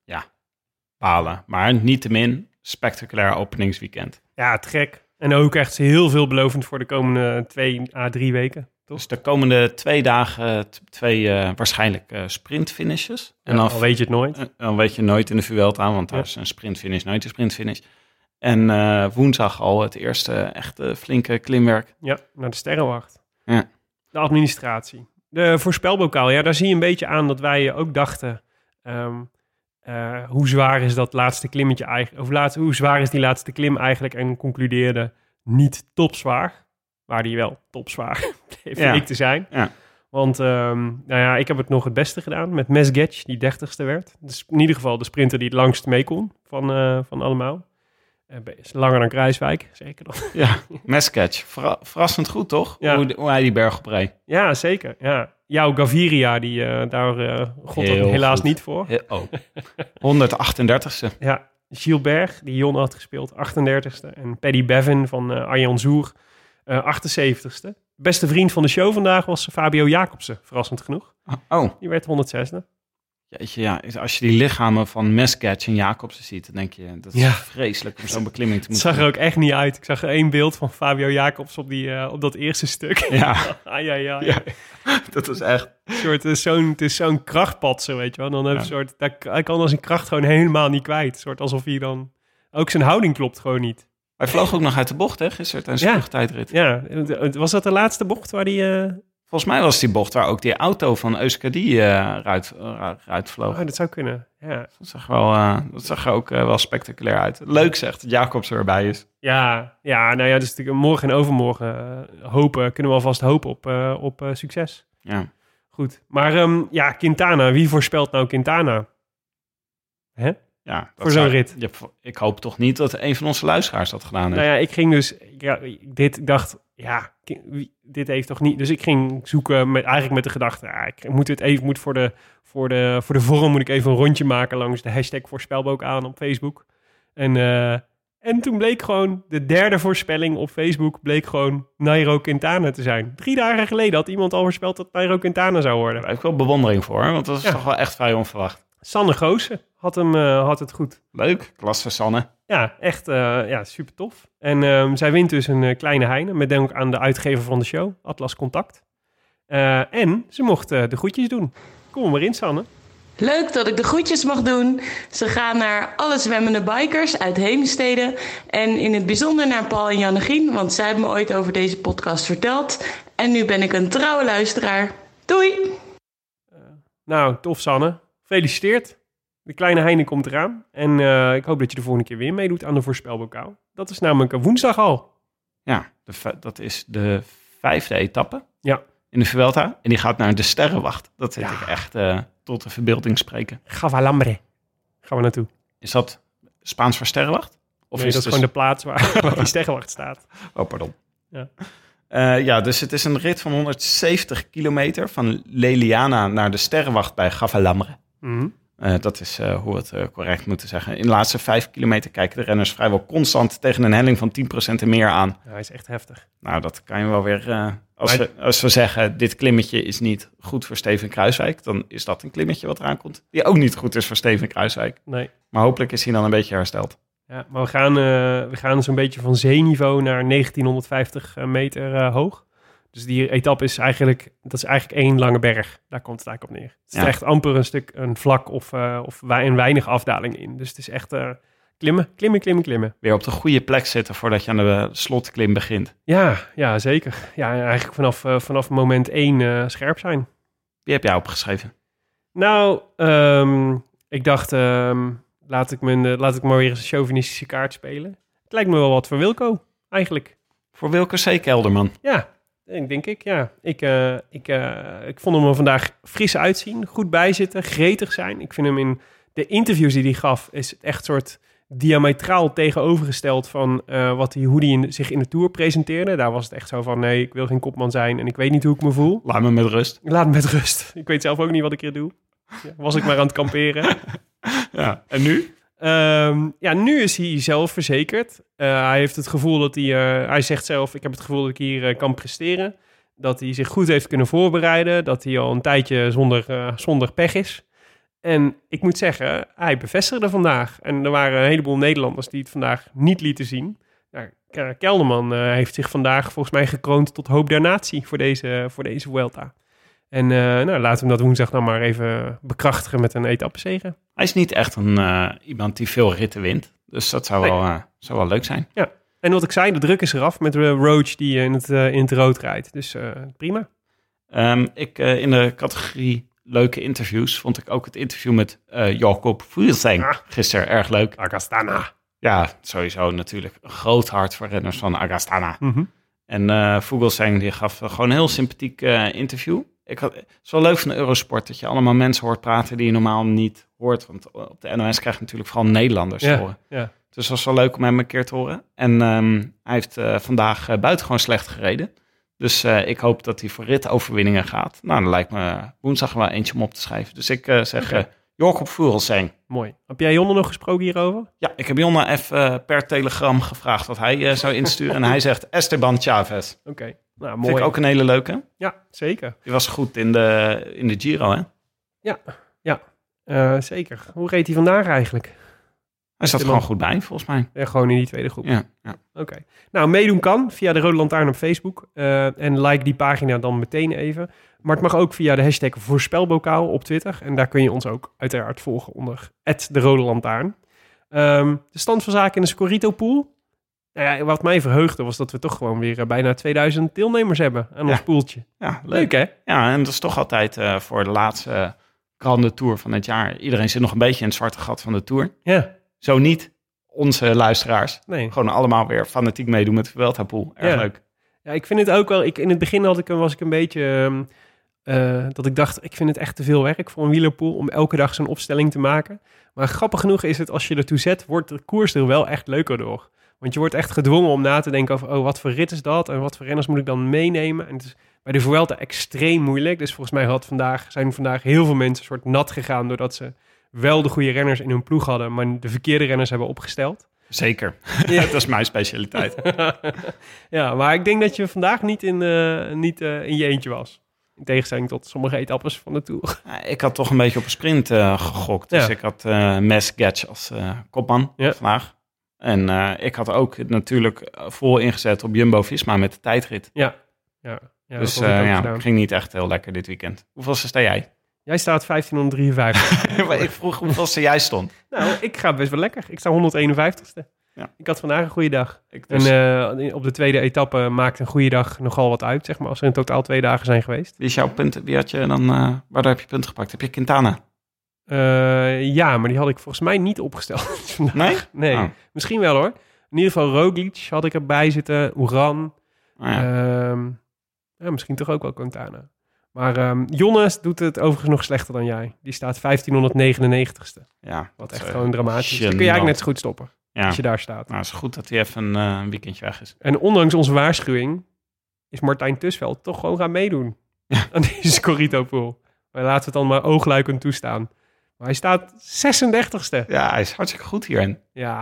Balen. Maar niettemin, spectaculair openingsweekend.
Ja, te gek. En ook echt heel veelbelovend voor de komende twee à drie weken. Toch?
Dus de komende twee dagen eh, t- twee eh, waarschijnlijk eh, sprintfinishes. En dan,
Al weet je het nooit.
eh, dan weet je nooit in de Vuelta aan, want daar
Ja.
is een sprintfinish nooit een sprintfinish. En eh, woensdag al het eerste echte flinke klimwerk.
Ja, naar de sterrenwacht.
Ja.
De administratie. De voorspelbokaal. Ja, daar zie je een beetje aan dat wij eh, ook dachten... ehm, eh, hoe zwaar is dat laatste klimmetje eigenlijk... Of laatst, hoe zwaar is die laatste klim eigenlijk? En concludeerde niet topzwaar. Maar die wel topzwaar bleef
Ja.
ik te zijn.
Ja.
Want ehm, nou ja, ik heb het nog het beste gedaan met Mesgetch, die dertigste werd. Dus in ieder geval de sprinter die het langst mee kon van, eh, van allemaal. Eh, is langer dan Kruiswijk, zeker dan.
Ja, Mescatch. Verra- verrassend goed, toch?
Ja.
Hoe, de- hoe hij die berg op reed.
Ja, zeker. Ja. Jouw Gaviria, die, eh, daar eh god
Heel
het helaas
goed.
niet voor.
He- Oh. 138ste.
Ja, Gilbert, die Jon had gespeeld, 38ste. En Paddy Bevin van eh Arjan Zoer, eh 78ste. Beste vriend van de show vandaag was Fabio Jacobsen, verrassend genoeg.
Oh,
Die werd 106ste.
jeetje, ja. als je die lichamen van Mescatch en Jacobsen ziet, dan denk je, dat is
Ja.
vreselijk om zo'n beklimming te
Het
moeten
zag er ook echt niet uit. Ik zag één beeld van Fabio Jacobs op, die, eh, op dat eerste stuk.
doen. Ja,
ah, ja, ja.
Ja. dat is echt...
Een soort, het is zo'n, het is zo'n krachtpatser, weet je wel. Dan heb je
Ja.
een soort, daar- hij kan dan zijn kracht gewoon helemaal niet kwijt. Een soort alsof hij dan... Ook zijn houding klopt gewoon niet.
Hij vloog ook nog uit de bocht, hè, gisteren tijdens de
Ja.
vluchttijdrit.
Ja, was dat de laatste bocht waar die... eh,
Volgens mij was die bocht waar ook die auto van Euskadi eh eruit, eruit vloog.
Oh, dat zou kunnen. Ja,
Dat zag, wel, eh, dat zag er ook eh, wel spectaculair uit. Leuk zegt dat Jacobs erbij is.
ja, ja nou ja, dus natuurlijk morgen en overmorgen eh, hopen, kunnen we alvast hopen op, eh, op eh, succes.
Ja.
Goed. Maar ehm, ja, Quintana, wie voorspelt nou Quintana?
Ja, dat
Voor zo'n
zou-
rit.
Ja, voor- ik hoop toch niet dat een van onze luisteraars dat gedaan heeft.
Nou ja, ik ging dus, ja, dit, ik dacht, ja, ki- wie- dit heeft toch niet. Dus ik ging zoeken, met, eigenlijk met de gedachte, ja, ik moet het even, moet voor de, voor, de, voor de vorm moet ik even een rondje maken langs de hashtag voorspelboek aan op Facebook. En, eh, en toen bleek gewoon, de derde voorspelling op Facebook bleek gewoon Nairo Quintana te zijn. Drie dagen geleden had iemand al voorspeld dat Nairo Quintana zou worden.
Daar heb ik wel bewondering voor, hè, want dat is
Ja.
toch wel echt vrij onverwacht.
Sanne Goosen had, hem, eh, had het goed.
Leuk, klasse Sanne.
Ja, echt eh, ja, super tof. En ehm, zij wint dus een eh, kleine heine. Met denk ik aan de uitgever van de show, Atlas Contact. Eh, en ze mocht eh, de groetjes doen. Kom er maar in, Sanne.
Leuk dat ik de groetjes mag doen. Ze gaan naar alle zwemmende bikers uit Heemstede. En in het bijzonder naar Paul en Jannegien, want zij hebben me ooit over deze podcast verteld. En nu ben ik een trouwe luisteraar. Doei!
Nou, tof, Sanne. Gefeliciteerd. De kleine heine komt eraan. En eh, ik hoop dat je de volgende keer weer meedoet aan de voorspelbokaal. Dat is namelijk eh, woensdag al.
Ja, de v- dat is de vijfde etappe
Ja,
in de Vuelta. En die gaat naar de Sterrenwacht. Dat vind ik echt eh, tot de verbeelding spreken.
Gavalambre. Gaan we naartoe.
Is dat Spaans voor Sterrenwacht? Of
Of is dus- dat
het
gewoon de plaats waar, waar die sterrenwacht staat?
de... Oh, pardon.
Ja.
Ja. ja, dus het is een rit van 170 kilometer van Leliana naar de Sterrenwacht bij Gavalambre.
Mhm.
Eh, dat is eh, hoe we het eh, correct moeten zeggen. In de laatste vijf kilometer kijken de renners vrijwel constant tegen een helling van 10% en meer aan.
Ja, hij is echt heftig.
Nou, dat kan je wel weer. eh, als,
Maar-
we, als we zeggen, dit klimmetje is niet goed voor Steven Kruiswijk, dan is dat een klimmetje wat eraan komt. Die ook niet goed is voor Steven Kruiswijk.
Nee.
Maar hopelijk is hij dan een beetje hersteld.
Ja, maar we gaan, eh, we gaan zo'n beetje van zeeniveau naar 1950 meter eh, hoog. Dus die etappe is eigenlijk, dat is eigenlijk één lange berg. Daar komt het eigenlijk op neer. Het is
Ja.
echt amper een stuk, een vlak of, eh of wij- en weinig afdaling in. Dus het is echt eh, klimmen, klimmen, klimmen, klimmen.
Weer op de goede plek zitten voordat je aan de eh, slotklim begint.
Ja, ja zeker. Ja, en eigenlijk vanaf, eh, vanaf moment één eh, scherp zijn.
Wie heb jij opgeschreven?
Nou, ehm, ik dacht, ehm, laat, ik mijn, eh, laat ik maar weer eens een chauvinistische kaart spelen. Het lijkt me wel wat voor Wilco, eigenlijk.
Voor Wilke C. Kelderman.
Ja, ik denk ik, ja. Ik, eh, ik, eh, ik vond hem er vandaag fris uitzien, goed bijzitten, gretig zijn. Ik vind hem in de interviews die hij gaf, is het echt soort diametraal tegenovergesteld van eh, wat hij, hoe hij in- zich in de Tour presenteerde. Daar was het echt zo van, nee, ik wil geen kopman zijn en ik weet niet hoe ik me voel.
Laat me met rust.
Laat me met rust. Ik weet zelf ook niet wat ik hier doe. Ja, was ik maar aan het kamperen.
Ja. En nu?
Ehm, ja, nu is hij zelfverzekerd. Eh hij heeft het gevoel dat hij... eh, hij zegt zelf, ik heb het gevoel dat ik hier eh, kan presteren. Dat hij zich goed heeft kunnen voorbereiden. Dat hij al een tijdje zonder, eh, zonder pech is. En ik moet zeggen, hij bevestigde vandaag. En er waren een heleboel Nederlanders die het vandaag niet lieten zien. Nou, Ke- Kelderman eh, heeft zich vandaag volgens mij gekroond tot hoop der natie voor deze, voor deze Vuelta. En eh, nou, laten we hem dat woensdag dan maar even bekrachtigen met een etappezege.
Hij is niet echt een, eh, iemand die veel ritten wint. Dus dat zou,
Nee.
wel, eh, zou wel leuk zijn.
En wat ik zei, de druk is eraf met eh, Roach die in het, eh, in het rood rijdt. Dus eh, prima.
Ehm, ik, eh, in de categorie leuke interviews vond ik ook het interview met eh Jacob Fuglsang
Ah.
gisteren erg leuk.
Agastana.
Ja, sowieso natuurlijk een groot hart voor renners van Agastana. En eh Vogelsang die gaf eh, gewoon een heel sympathiek eh, interview. Ik had, het is wel leuk van de Eurosport dat je allemaal mensen hoort praten die je normaal niet hoort. Want op de NOS krijg je natuurlijk vooral Nederlanders te horen.
Ja, ja.
Dus het was wel leuk om hem een keer te horen. En ehm, hij heeft eh, vandaag eh, buitengewoon slecht gereden. Dus eh, ik hoop dat hij voor ritoverwinningen gaat. Nou, dan lijkt me woensdag wel eentje om op te schrijven. Dus ik eh, zeg, eh Jork op Vogelsang.
Mooi. Heb jij Jonne nog gesproken hierover?
Ja, ik heb Jonna even eh, per telegram gevraagd wat hij eh, zou insturen. en hij zegt Esteban Chavez.
Oké. Nou,
Vind
mooi.
ik ook een hele leuke.
Ja, zeker.
Die was goed in de, in de Giro, hè?
Eh, zeker. Hoe reed hij vandaag eigenlijk?
Hij zat er gewoon
Esteban.
goed bij, volgens mij.
Eh, gewoon in die tweede groep.
Ja, ja.
Oké. Nou, meedoen kan via de Rode Lantaarn op Facebook. Eh, en like die pagina dan meteen even. Maar het mag ook via de hashtag voorspelbokaal op Twitter. En daar kun je ons ook uiteraard volgen onder de Rode Lantaarn. Ehm, de stand van zaken in de Scorito Pool. Nou ja, wat mij verheugde was dat we toch gewoon weer eh, bijna 2000 deelnemers hebben aan ons
Ja.
poeltje.
Ja, leuk.
Leuk hè?
Ja, en dat is toch altijd eh, voor de laatste grande tour van het jaar. Iedereen zit nog een beetje in het zwarte gat van de tour.
Ja.
Zo niet onze luisteraars.
Nee.
Gewoon allemaal weer fanatiek meedoen met de Vuelta Pool. Erg
Ja.
leuk.
Ja, ik vind het ook wel. Ik, in het begin had ik, was ik een beetje. ehm, eh, dat ik dacht, ik vind het echt te veel werk voor een wielerpool om elke dag zo'n opstelling te maken. Maar grappig genoeg is het, als je ertoe zet, wordt de koers er wel echt leuker door. Want je wordt echt gedwongen om na te denken over, oh, wat voor rit is dat? En wat voor renners moet ik dan meenemen? En het is bij de Vuelta extreem moeilijk. Dus volgens mij had vandaag, zijn vandaag heel veel mensen een soort nat gegaan, doordat ze wel de goede renners in hun ploeg hadden, maar de verkeerde renners hebben opgesteld.
Zeker.
Ja.
dat is mijn specialiteit.
ja, maar ik denk dat je vandaag niet in, eh, niet, eh, in je eentje was. In tegenstelling tot sommige etappes van de Tour.
Ja, Ik had toch een beetje op een sprint eh, gegokt. Dus
Ja.
ik had eh Mes Gatch als eh, kopman
Ja.
vandaag. En eh, ik had ook natuurlijk eh, vol ingezet op Jumbo-Visma met de tijdrit.
Ja, ja
dus
dat had ik
eh,
ook
ja,
gedaan.
ging niet echt heel lekker dit weekend. Hoeveelste sta jij?
Jij staat 1553.
ik vroeg hoeveelste jij stond.
nou, ik ga best wel lekker. Ik sta 151ste.
Ja.
Ik had vandaag een goede dag.
Ik
En
dus,
eh, op de tweede etappe maakt een goede dag nogal wat uit, zeg maar. Als er in totaal twee dagen zijn geweest.
wie is jouw punt? Wie had je dan, eh, waardoor heb je punten gepakt? Heb je Quintana?
Eh, ja, maar die had ik volgens mij niet opgesteld vandaag.
Nee?
Nee,
Oh.
misschien wel hoor. In ieder geval Roglic had ik erbij zitten. Oeran,
Nou ja.
Ehm, ja, misschien toch ook wel Quintana. Maar ehm Jonnes doet het overigens nog slechter dan jij. Die staat 1599ste.
ja,
Wat
dat,
echt
eh,
gewoon dramatisch is. Dan kun je eigenlijk
gênant.
net zo goed stoppen
Ja.
als je daar staat.
Nou, het is goed dat hij even eh, een weekendje weg is.
En ondanks onze waarschuwing is Martijn Tusveld toch gewoon gaan meedoen aan deze Corito pool. Maar laten we het dan maar oogluikend toestaan. Maar hij staat 36ste.
Ja, hij is hartstikke goed hierin.
Ja,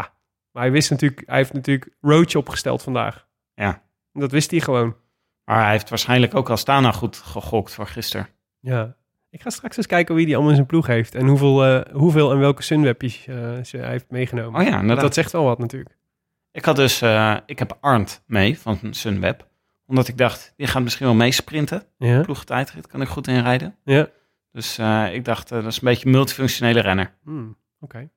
maar hij wist natuurlijk, hij heeft natuurlijk Roach opgesteld vandaag.
Ja.
En Dat wist hij gewoon.
Maar hij heeft waarschijnlijk ook Astana goed gegokt voor gisteren.
Ja. Ik ga straks eens kijken wie die allemaal in zijn ploeg heeft. En hoeveel, eh, hoeveel en welke sunwebjes eh, ze hij heeft meegenomen.
Oh ja,
Want
inderdaad.
dat zegt wel wat natuurlijk.
Ik had dus, eh, ik heb Arndt mee van Sunweb. Omdat ik dacht, die gaat misschien wel meesprinten.
Ja.
Ploegtijdrit kan ik goed inrijden.
ja.
Dus eh, ik dacht, eh, dat is een beetje een multifunctionele renner.
Hmm, Oké.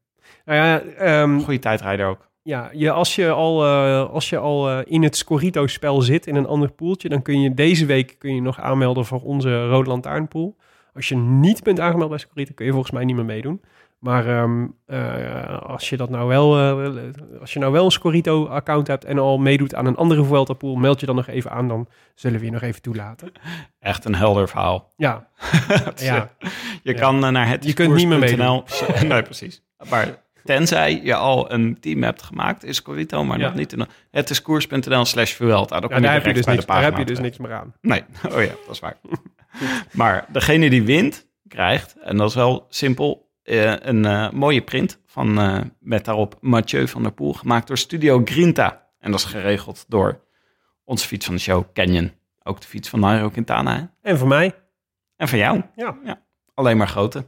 Nou ja, ehm,
Goede tijdrijder ook.
ja je, als je al, eh, als je al eh, in het Scorito-spel zit, in een ander poeltje, dan kun je deze week kun je nog aanmelden voor onze Rode Lantaarnpool. Als je niet bent aangemeld bij Scorito, kun je volgens mij niet meer meedoen. Maar ehm, eh, als, je dat nou wel, eh, als je nou wel een Scorito-account hebt en al meedoet aan een andere Vuelta-pool, meld je dan nog even aan, dan zullen we je nog even toelaten.
Echt een helder verhaal.
Ja, ja.
Je
Ja.
kan eh, naar het
Je kunt niet meer
discours.nl. nee, precies. Maar tenzij je al een team hebt gemaakt, is Corito, maar
Ja.
nog niet. in- Het is koers.nl slash Vuelta. Daar, kom
Ja, daar, heb je
direct
dus
bij
niks,
de
daar heb
pagina
je dus
terecht.
niks meer aan.
Nee, oh ja, dat is waar. maar degene die wint, krijgt, en dat is wel simpel, eh, een eh, mooie print van, eh, met daarop Mathieu van der Poel, gemaakt door Studio Grinta. En dat is geregeld door onze fiets van de show, Canyon. Ook de fiets van Nairo Quintana. hè?
En voor mij.
En van jou.
Ja.
Alleen maar grote.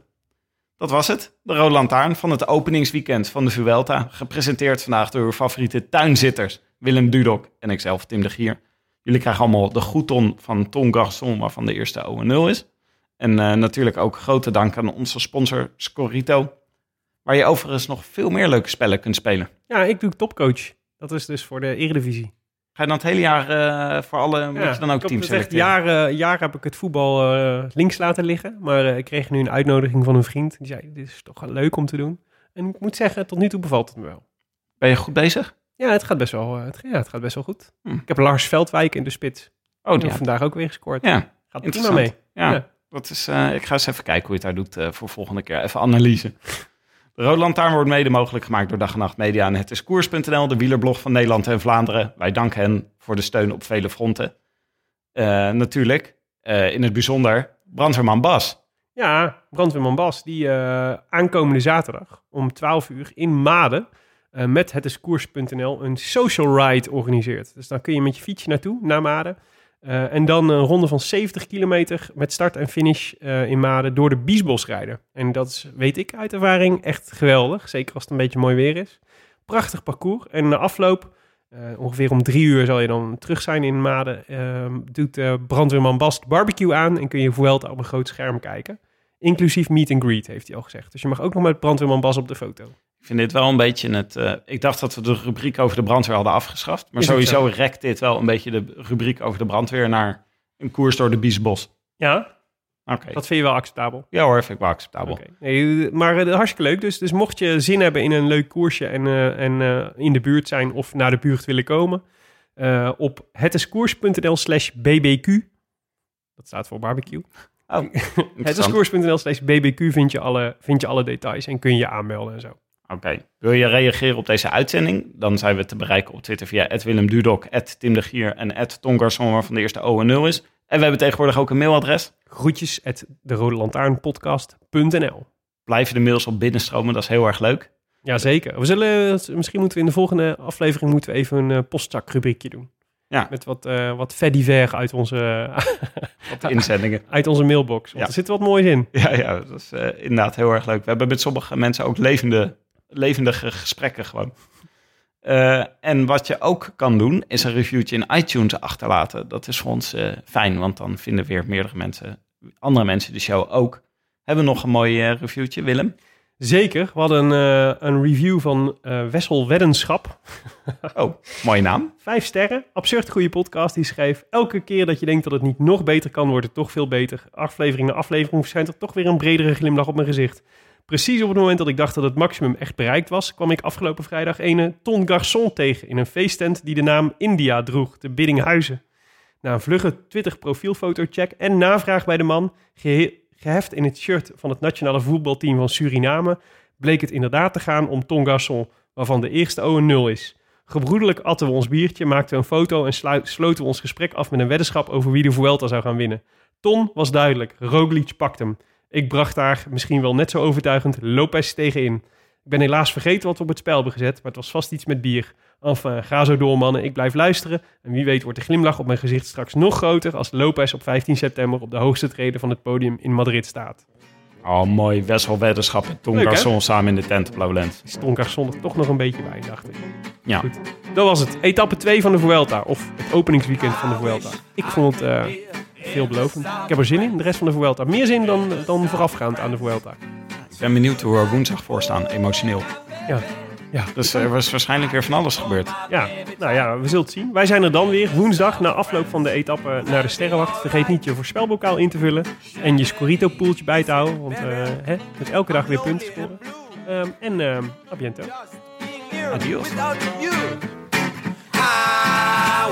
Dat was het. De Rode Lantaarn van het openingsweekend van de Vuelta. Gepresenteerd vandaag door uw favoriete tuinzitters Willem Dudok en ikzelf Tim de Gier. Jullie krijgen allemaal de goedton van Ton Garçon, waarvan de eerste 0 is. En eh, natuurlijk ook grote dank aan onze sponsor Scorito. Waar je overigens nog veel meer leuke spellen kunt spelen.
Ja, ik doe topcoach. Dat is dus voor de Eredivisie.
Ga je dan het hele jaar eh, voor alle, moet
ja,
je dan ook
ik
teams
heb het echt
selecteren?
jaren, jaren heb ik het voetbal eh, links laten liggen. Maar eh, ik kreeg nu een uitnodiging van een vriend. Die zei, dit is toch wel leuk om te doen. En ik moet zeggen, tot nu toe bevalt het me wel.
Ben je goed bezig?
Ja, het gaat best wel, eh, het, ja, het gaat best wel goed.
Hm.
Ik heb Lars Veldwijk in de spits.
Oh,
Die
ja.
heeft vandaag ook weer gescoord.
ja.
gaat prima
Interessant.
mee.
Ja,
Ja.
Dat is, eh, ik ga eens even kijken hoe je het daar doet eh, voor volgende keer. Even analyse. De Rode Lantaarn wordt mede mogelijk gemaakt door Dag en Nacht Media en het is koers.nl, de wielerblog van Nederland en Vlaanderen. Wij danken hen voor de steun op vele fronten. Eh, natuurlijk, eh, in het bijzonder, brandweerman Bas.
Ja, brandweerman Bas, die eh, aankomende zaterdag om 12 uur in Maden eh, met het is koers.nl een social ride organiseert. Dus dan kun je met je fietsje naartoe, naar Maden. Eh, en dan een ronde van 70 kilometer met start en finish eh, in Maden door de Biesbos rijden. En dat is, weet ik uit ervaring, echt geweldig. Zeker als het een beetje mooi weer is. Prachtig parcours. En na afloop, eh, ongeveer om drie uur zal je dan terug zijn in Maden, eh, doet eh, brandweerman Bas de barbecue aan en kun je Vuelta op een groot scherm kijken. Inclusief meet and greet, heeft hij al gezegd. Dus je mag ook nog met brandweerman Bas op de foto.
Ik vind dit wel een beetje het... eh, ik dacht dat we de rubriek over de brandweer hadden afgeschaft. Maar
Is ook
sowieso rekt dit wel een beetje de rubriek over de brandweer naar een koers door de Biesbos.
Ja,
Oké,
dat vind je wel acceptabel.
ja hoor, vind ik wel acceptabel.
Oké. Nee, maar eh, hartstikke leuk. Dus, dus mocht je zin hebben in een leuk koersje en, eh, en eh, in de buurt zijn of naar de buurt willen komen, eh, op hetiskoers.nl slash bbq. Dat staat voor barbecue.
Interessant.
Hetiskoers.nl slash bbq vind je, alle, vind je alle details en kun je je aanmelden en zo.
Oké. Wil je reageren op deze uitzending? Dan zijn we te bereiken op Twitter via Willem Dudok, Tim de Gier en Tongarson, waarvan de eerste O en 0 is. En we hebben tegenwoordig ook een mailadres.
Groetjes at de Rode Lantaarnpodcast.nl.
Blijven de mails op binnenstromen, dat is heel erg leuk.
Jazeker. We zullen, misschien moeten we in de volgende aflevering moeten we even een eh, postzakrubriekje doen.
Ja.
Met wat, eh wat ver uit onze,
Op de inzendingen.
uit onze mailbox. Want
Ja.
er zit wat moois in.
Ja, ja, dat is eh, inderdaad heel erg leuk. We hebben met sommige mensen ook levende, levendige gesprekken gewoon. Eh, en wat je ook kan doen, is een reviewtje in iTunes achterlaten. Dat is voor ons eh, fijn, want dan vinden weer meerdere mensen, andere mensen de show ook. Hebben we nog een mooi eh, reviewtje, Willem?
Zeker. We hadden eh, een review van eh, Wessel Weddenschap.
Oh, mooie naam.
Vijf sterren. Absurd goede podcast. Die schreef... Elke keer dat je denkt dat het niet nog beter kan, wordt het toch veel beter. Aflevering na aflevering verschijnt er toch weer een bredere glimlach op mijn gezicht. Precies op het moment dat ik dacht dat het maximum echt bereikt was... kwam ik afgelopen vrijdag een eh, Ton Garçon tegen... in een feesttent die de naam India droeg, de Biddinghuizen. Na een vlugge Twitter profielfotocheck en navraag bij de man... gehe- geheft in het shirt van het nationale voetbalteam van Suriname... bleek het inderdaad te gaan om Ton Garçon, waarvan de eerste O een nul is... Gebroedelijk atten we ons biertje, maakten we een foto en slui- sloten we ons gesprek af met een weddenschap over wie de Vuelta zou gaan winnen. Ton was duidelijk, Roglic pakt hem. Ik bracht daar, misschien wel net zo overtuigend, Lopez tegenin. Ik ben helaas vergeten wat we op het spel hebben gezet, maar het was vast iets met bier. Enfin, ga zo door mannen, ik blijf luisteren. En wie weet wordt de glimlach op mijn gezicht straks nog groter als Lopez op 15 september op de hoogste treden van het podium in Madrid staat.
Oh, mooi. Wessel Weddenschap en Tom
Leuk, hè?
Garçon samen in de tent op Lowlands.
Is Ton Garçon er toch nog een beetje bij, dacht ik.
Ja.
Goed. Dat was het. Etappe 2 van de Vuelta. Of het openingsweekend van de Vuelta. Ik vond het eh, veelbelovend. Ik heb er zin in. De rest van de Vuelta. Meer zin dan, dan voorafgaand aan de Vuelta.
Ik ben benieuwd hoe we er woensdag voor staan, emotioneel.
Ja. Ja.
Dus er was waarschijnlijk weer van alles gebeurd.
ja, nou ja, we zullen het zien. Wij zijn er dan weer woensdag na afloop van de etappe naar de Sterrenwacht. Vergeet niet je voorspelbokaal in te vullen en je Scorito-poeltje bij te houden. Want eh, hè, je kunt elke dag weer punten scoren. Ehm, en ehm a biento.
Adios.
Without you. I